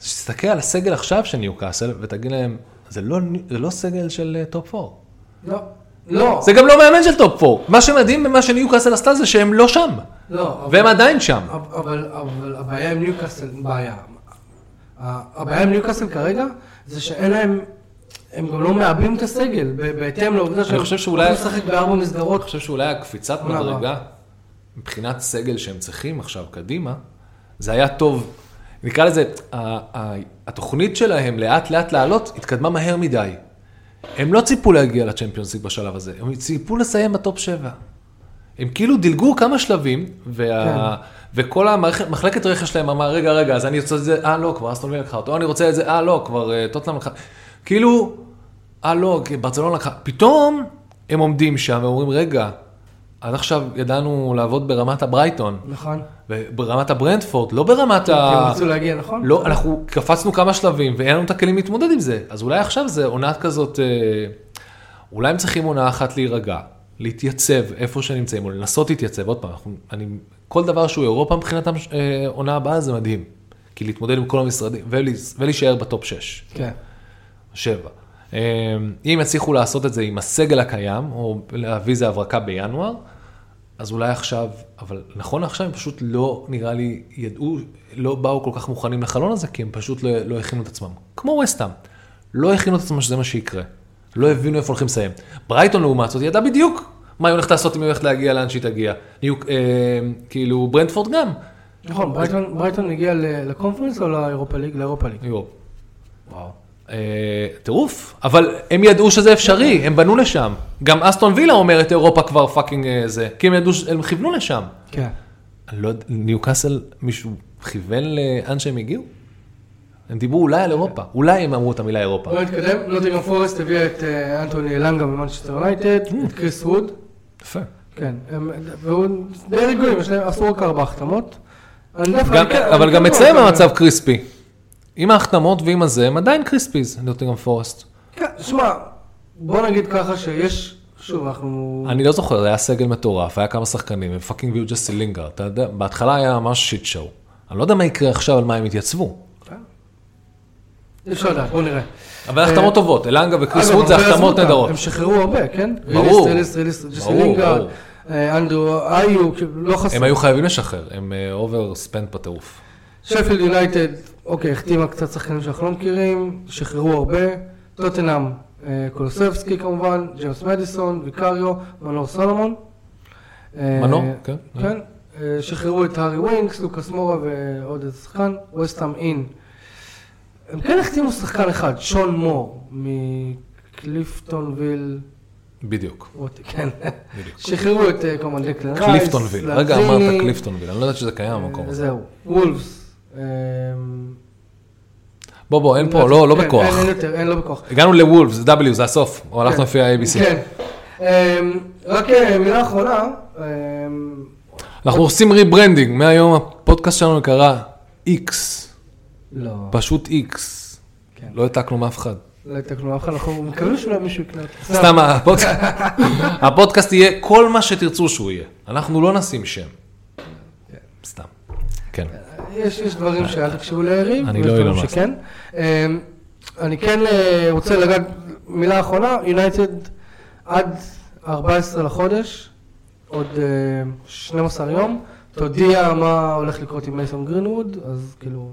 זה שתסתכל על הסגל עכשיו של ניוקאסל ותגיד להם, זה לא, ניו- זה לא סגל של אה, טופ 4.
לא, לא,
זה גם לא מאמן של טופ 4. מה שמדהים במה שניוקאסל עשתה זה שהם לא שם,
לא. אבל-
והם עדיין שם.
אבל- אבל אבל הבעיה עם ניוקאסל, בעיה. ה- הבעיה עם ניוקאסל כרגע, זה שאין להם, הם גם לא מעבים את הסגל, ב- בהתאם לעובדה שהם
חושב שאולי-
הולכים לשחק בארבע מסגרות.
אני חושב שאולי הקפיצת
למה?
מדרגה, מבחינת סגל שהם צריכים עכשיו קדימה, זה היה טוב. נקרא לזה, ה- ה- התוכנית שלהם לאט לאט לעלות התקדמה מהר מדי. הם לא ציפו להגיע לצ'מפיונסיק בשלב הזה, הם ציפו לסיים בטופ 7. הם כאילו דילגו כמה שלבים, וה... כן. וכל המערכת, מחלקת רכש שלהם אמרה, רגע, רגע, אז אני רוצה את זה, אה, לא, כבר אסטון וילה לקחה אותו, אני רוצה את זה, אה, לא, כבר אה, טוטנאם לקחה, כאילו, אה, לא, כי ברצלונה לקחה, פתאום הם עומדים שם ואומרים, רגע, עד עכשיו ידענו לעבוד ברמת הברייטון,
נכון.
ברמת הברנדפורד, לא ברמת
כי כן, הם
ה...
רצו להגיע, נכון?
לא, אנחנו קפצנו כמה שלבים ואין לנו את הכלים להתמודד עם זה. אז אולי עכשיו זה עונה כזאת, אה, אולי הם צריכים עונה אחת להירגע, להתייצב איפה שנמצאים, או לנסות להתייצב. עוד פעם, אנחנו, אני, כל דבר שהוא אירופה מבחינתם, אה, עונה הבאה זה מדהים. כי להתמודד עם כל המשרדים, ולה, ולהישאר בטופ 6,
כן.
7. אמ, אם יצליחו לעשות את זה עם הסגל הקיים, או להביא איזה הברקה בינואר, אז אולי עכשיו, אבל נכון עכשיו הם פשוט לא, נראה לי, ידעו, לא באו כל כך מוכנים לחלון הזה, כי הם פשוט לא, לא הכינו את עצמם. כמו וסטאם, לא הכינו את עצמם שזה מה שיקרה. לא הבינו איפה הולכים לסיים. ברייטון לעומת זאת ידע בדיוק מה היא הולכת לעשות אם היא הולכת להגיע לאן שהיא תגיע. ניו, אה, כאילו ברנדפורד גם.
נכון, ברייטון- ברייטון הגיע ל- לקונפרנס או לאירופה ליג? לאירופה ליג.
יו. וואו. אה, טירוף, אבל הם ידעו שזה אפשרי, הם בנו לשם. גם אסטון וילה אומרת אירופה כבר פאקינג אה, זה, כי הם ידעו, ש- הם כיוונו לשם.
כן.
אני לא יודע, ניוקאסל, מישהו כיוון לאן שהם הגיעו? הם דיברו אולי על אירופה, אולי הם אמרו את המילה אירופה.
בוא נתקדם, נוטינגרם לא פורסט הביאה את אה, אנטוני אלנגה ממנצ'סטר יונייטד, את קריס ווד,
יפה.
כן, הם- והוא די רגועים, יש להם עשו רק ארבע החתמות. אני דווקא- אני כן-
אוקיי. אבל
אני
גם
כן
אצלם
רואה את זה.
המצב קריספי. עם ההחתמות ועם הזה, הם עדיין קריספיז, נוטינגרם פורסט.
כן, שמע, בוא נגיד ככה שיש, שוב, אנחנו...
אני לא זוכר, היה סגל מטורף, היה כמה שחקנים, הם פאקינג הביאו ג'סי לינגר, אתה יודע, בהתחלה היה ממש שיט שואו. אני לא יודע מה יקרה עכשיו, על מה הם יתייצבו.
אי כן? אפשר לדעת, בוא נראה.
אבל החתמות טובות, אלנגה וקריס
אגב,
ווד זה
אה, הרבה עזבו
החתמות
אותם,
נהדרות.
הם שחררו הרבה, כן?
ברור.
ריליס, ריליס, ריליס,
ברור,
ג'סלינגה,
ברור.
אנדרו, איו, כאילו, לא חסר.
הם היו חייבים לשחרר, הם אובר ספנד בטירוף.
שפילד יונייטד, אוקיי, החתימה קצת שחקנים שאנחנו לא מכירים, שחררו הרבה, טוטנאם, אה, קולוסבסקי כמובן, ג'יימס מדיסון, ויקריו, מנור סולומון. אה,
מנור, כן.
כן, אה, שחררו את הארי ווינקס, לוקאס מורה ועוד איזה שחקן, וסטאם אין. הם כן החתימו שחקן אחד, שון מור, מקליפטונוויל,
בדיוק.
ווט- כן,
בדיוק.
שחררו את אה, כמובן דקלן רייס,
קליפטונוויל, רגע אמרת
לזיני,
קליפטונוויל, אני לא יודעת שזה קיים המקום
אה,
הזה.
זהו, וולפס. אה,
בוא בוא, אין פה, לא לא
כן,
בכוח.
אין, אין יותר, אין, לא בכוח.
הגענו לוולף, זה W, זה הסוף, או הלכנו
כן.
לפי ה-ABC.
כן. אמ, רק אה, מילה אחרונה, אמ,
אנחנו עושים ריברנדינג, מהיום הפודקאסט שלנו נקרא X,
לא,
פשוט X.
כן.
לא העתקנו מאף אחד.
לא יתקנו אף אחד, אנחנו מקווים שאולי מישהו יקנה לא, אותו.
סתם, הפודקאסט- הפודקאסט יהיה כל מה שתרצו שהוא יהיה. אנחנו לא נשים שם. סתם. כן.
יש, יש דברים שאל תקשיבו ליריב,
אני
ויש
לא
דברים
אילון מאסק.
שכן. אמ, אני כן אה, רוצה לגעת, מילה אחרונה, יונייטד עד 14 לחודש, עוד אה, 12 יום, תודיע מה הולך לקרות עם מייסון גרינווד, אז כאילו...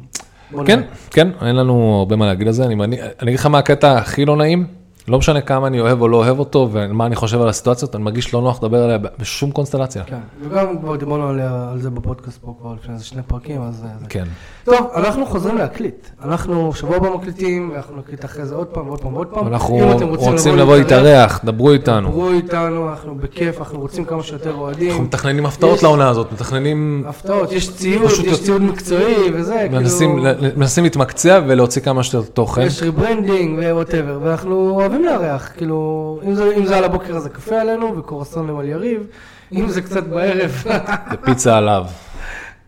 בוא
כן,
נראה.
כן, אין לנו הרבה מה להגיד על זה. אני מעני- אני אגיד לך מה הקטע הכי לא נעים, לא משנה כמה אני אוהב או לא אוהב אותו ומה אני חושב על הסיטואציות, אני מרגיש לא נוח לדבר עליה בשום קונסטלציה.
כן, וגם כבר דיברנו עליה- על זה בפודקאסט פה כבר לפני איזה שני פרקים, אז... אה, זה-
כן.
טוב, אנחנו חוזרים להקליט. אנחנו שבוע הבא מקליטים, אנחנו נקליט אחרי זה עוד פעם, עוד פעם, עוד פעם.
אנחנו
אם אתם
רוצים לבוא להתארח, דברו איתנו.
דברו איתנו, אנחנו בכיף, אנחנו רוצים כמה שיותר
אנחנו
אוהדים.
מתכננים הפתעות
יש- אה,
לעונה הזאת, מתכננים,
הפתעות, יש ציוד,
פשוט
יש ציוד מקצועי וזה,
מנסים
כאילו,
ל- מנסים להתמקצע ולהוציא כמה שיותר תוכן.
יש ריברנדינג וווטאבר, ואנחנו אוהבים לארח, כאילו, אם זה- אם זה על הבוקר אז זה קפה עלינו וקורסונים על יריב, אם זה קצת בערב,
זה פיצה עליו.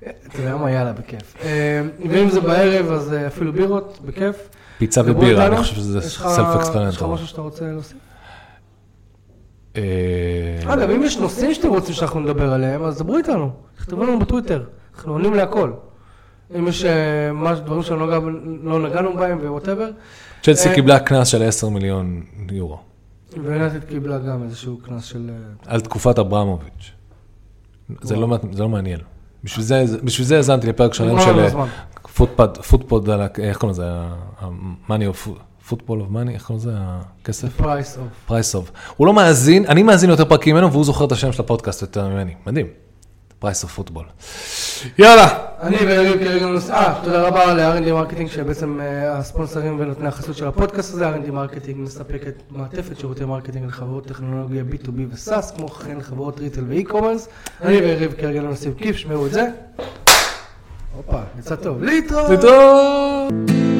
אתה יודע מה, יאללה, בכיף. אה, ואם זה בערב אז אה, אפילו בירות, בכיף.
פיצה
דברו
ובירה, אני
איתנו.
חושב שזה
יש לך-
סלף
יש לך
אקספלנטור.
משהו שאתה רוצה להוסיף?
אה,
אה,
לא
אגב, אם יש נושאים שאתם רוצים שאנחנו נדבר עליהם, אז דברו איתנו, תכתבו לנו בטוויטר, אנחנו עונים להכל. אם יש אה, מש- דברים שלא נגע- לא נגענו בהם ווואטאבר,
צ'לסי
אה,
קיבלה קנס של 10 מיליון יורו
ויונתן קיבלה גם איזשהו קנס של... אה,
על תקופת אברמוביץ'. זה לא מע- זה לא מעניין. בשביל זה- בשביל זה האזנתי לפרק שלם
נגמר
של
לנו
אה,
הזמן.
פוטפד, פוטפוד על, ה- אה, איך קוראים לזה, ה-money of, football of money, איך קוראים לזה, הכסף?
פרייס אוף.
פרייס אוף. הוא לא מאזין, אני מאזין יותר פרקים ממנו והוא זוכר את השם של הפודקאסט יותר ממני. מדהים. פרייס אוף פוטבול. יאללה.
אני ויריב כרגע נוסע, אה, תודה רבה ל-R&D מרקטינג, שבעצם אה, הספונסרים ונותני החסות של הפודקאסט הזה, R&D מרקטינג מספקת מעטפת שירותי מרקטינג לחברות טכנולוגיה B2B ו-SAS, כמו כן חברות ריטל ואי-קומרס. אני ויריב כרגע לא נוסעים כיף, שמעו את זה. הופה, יצא טוב. להתראות!
להתראות.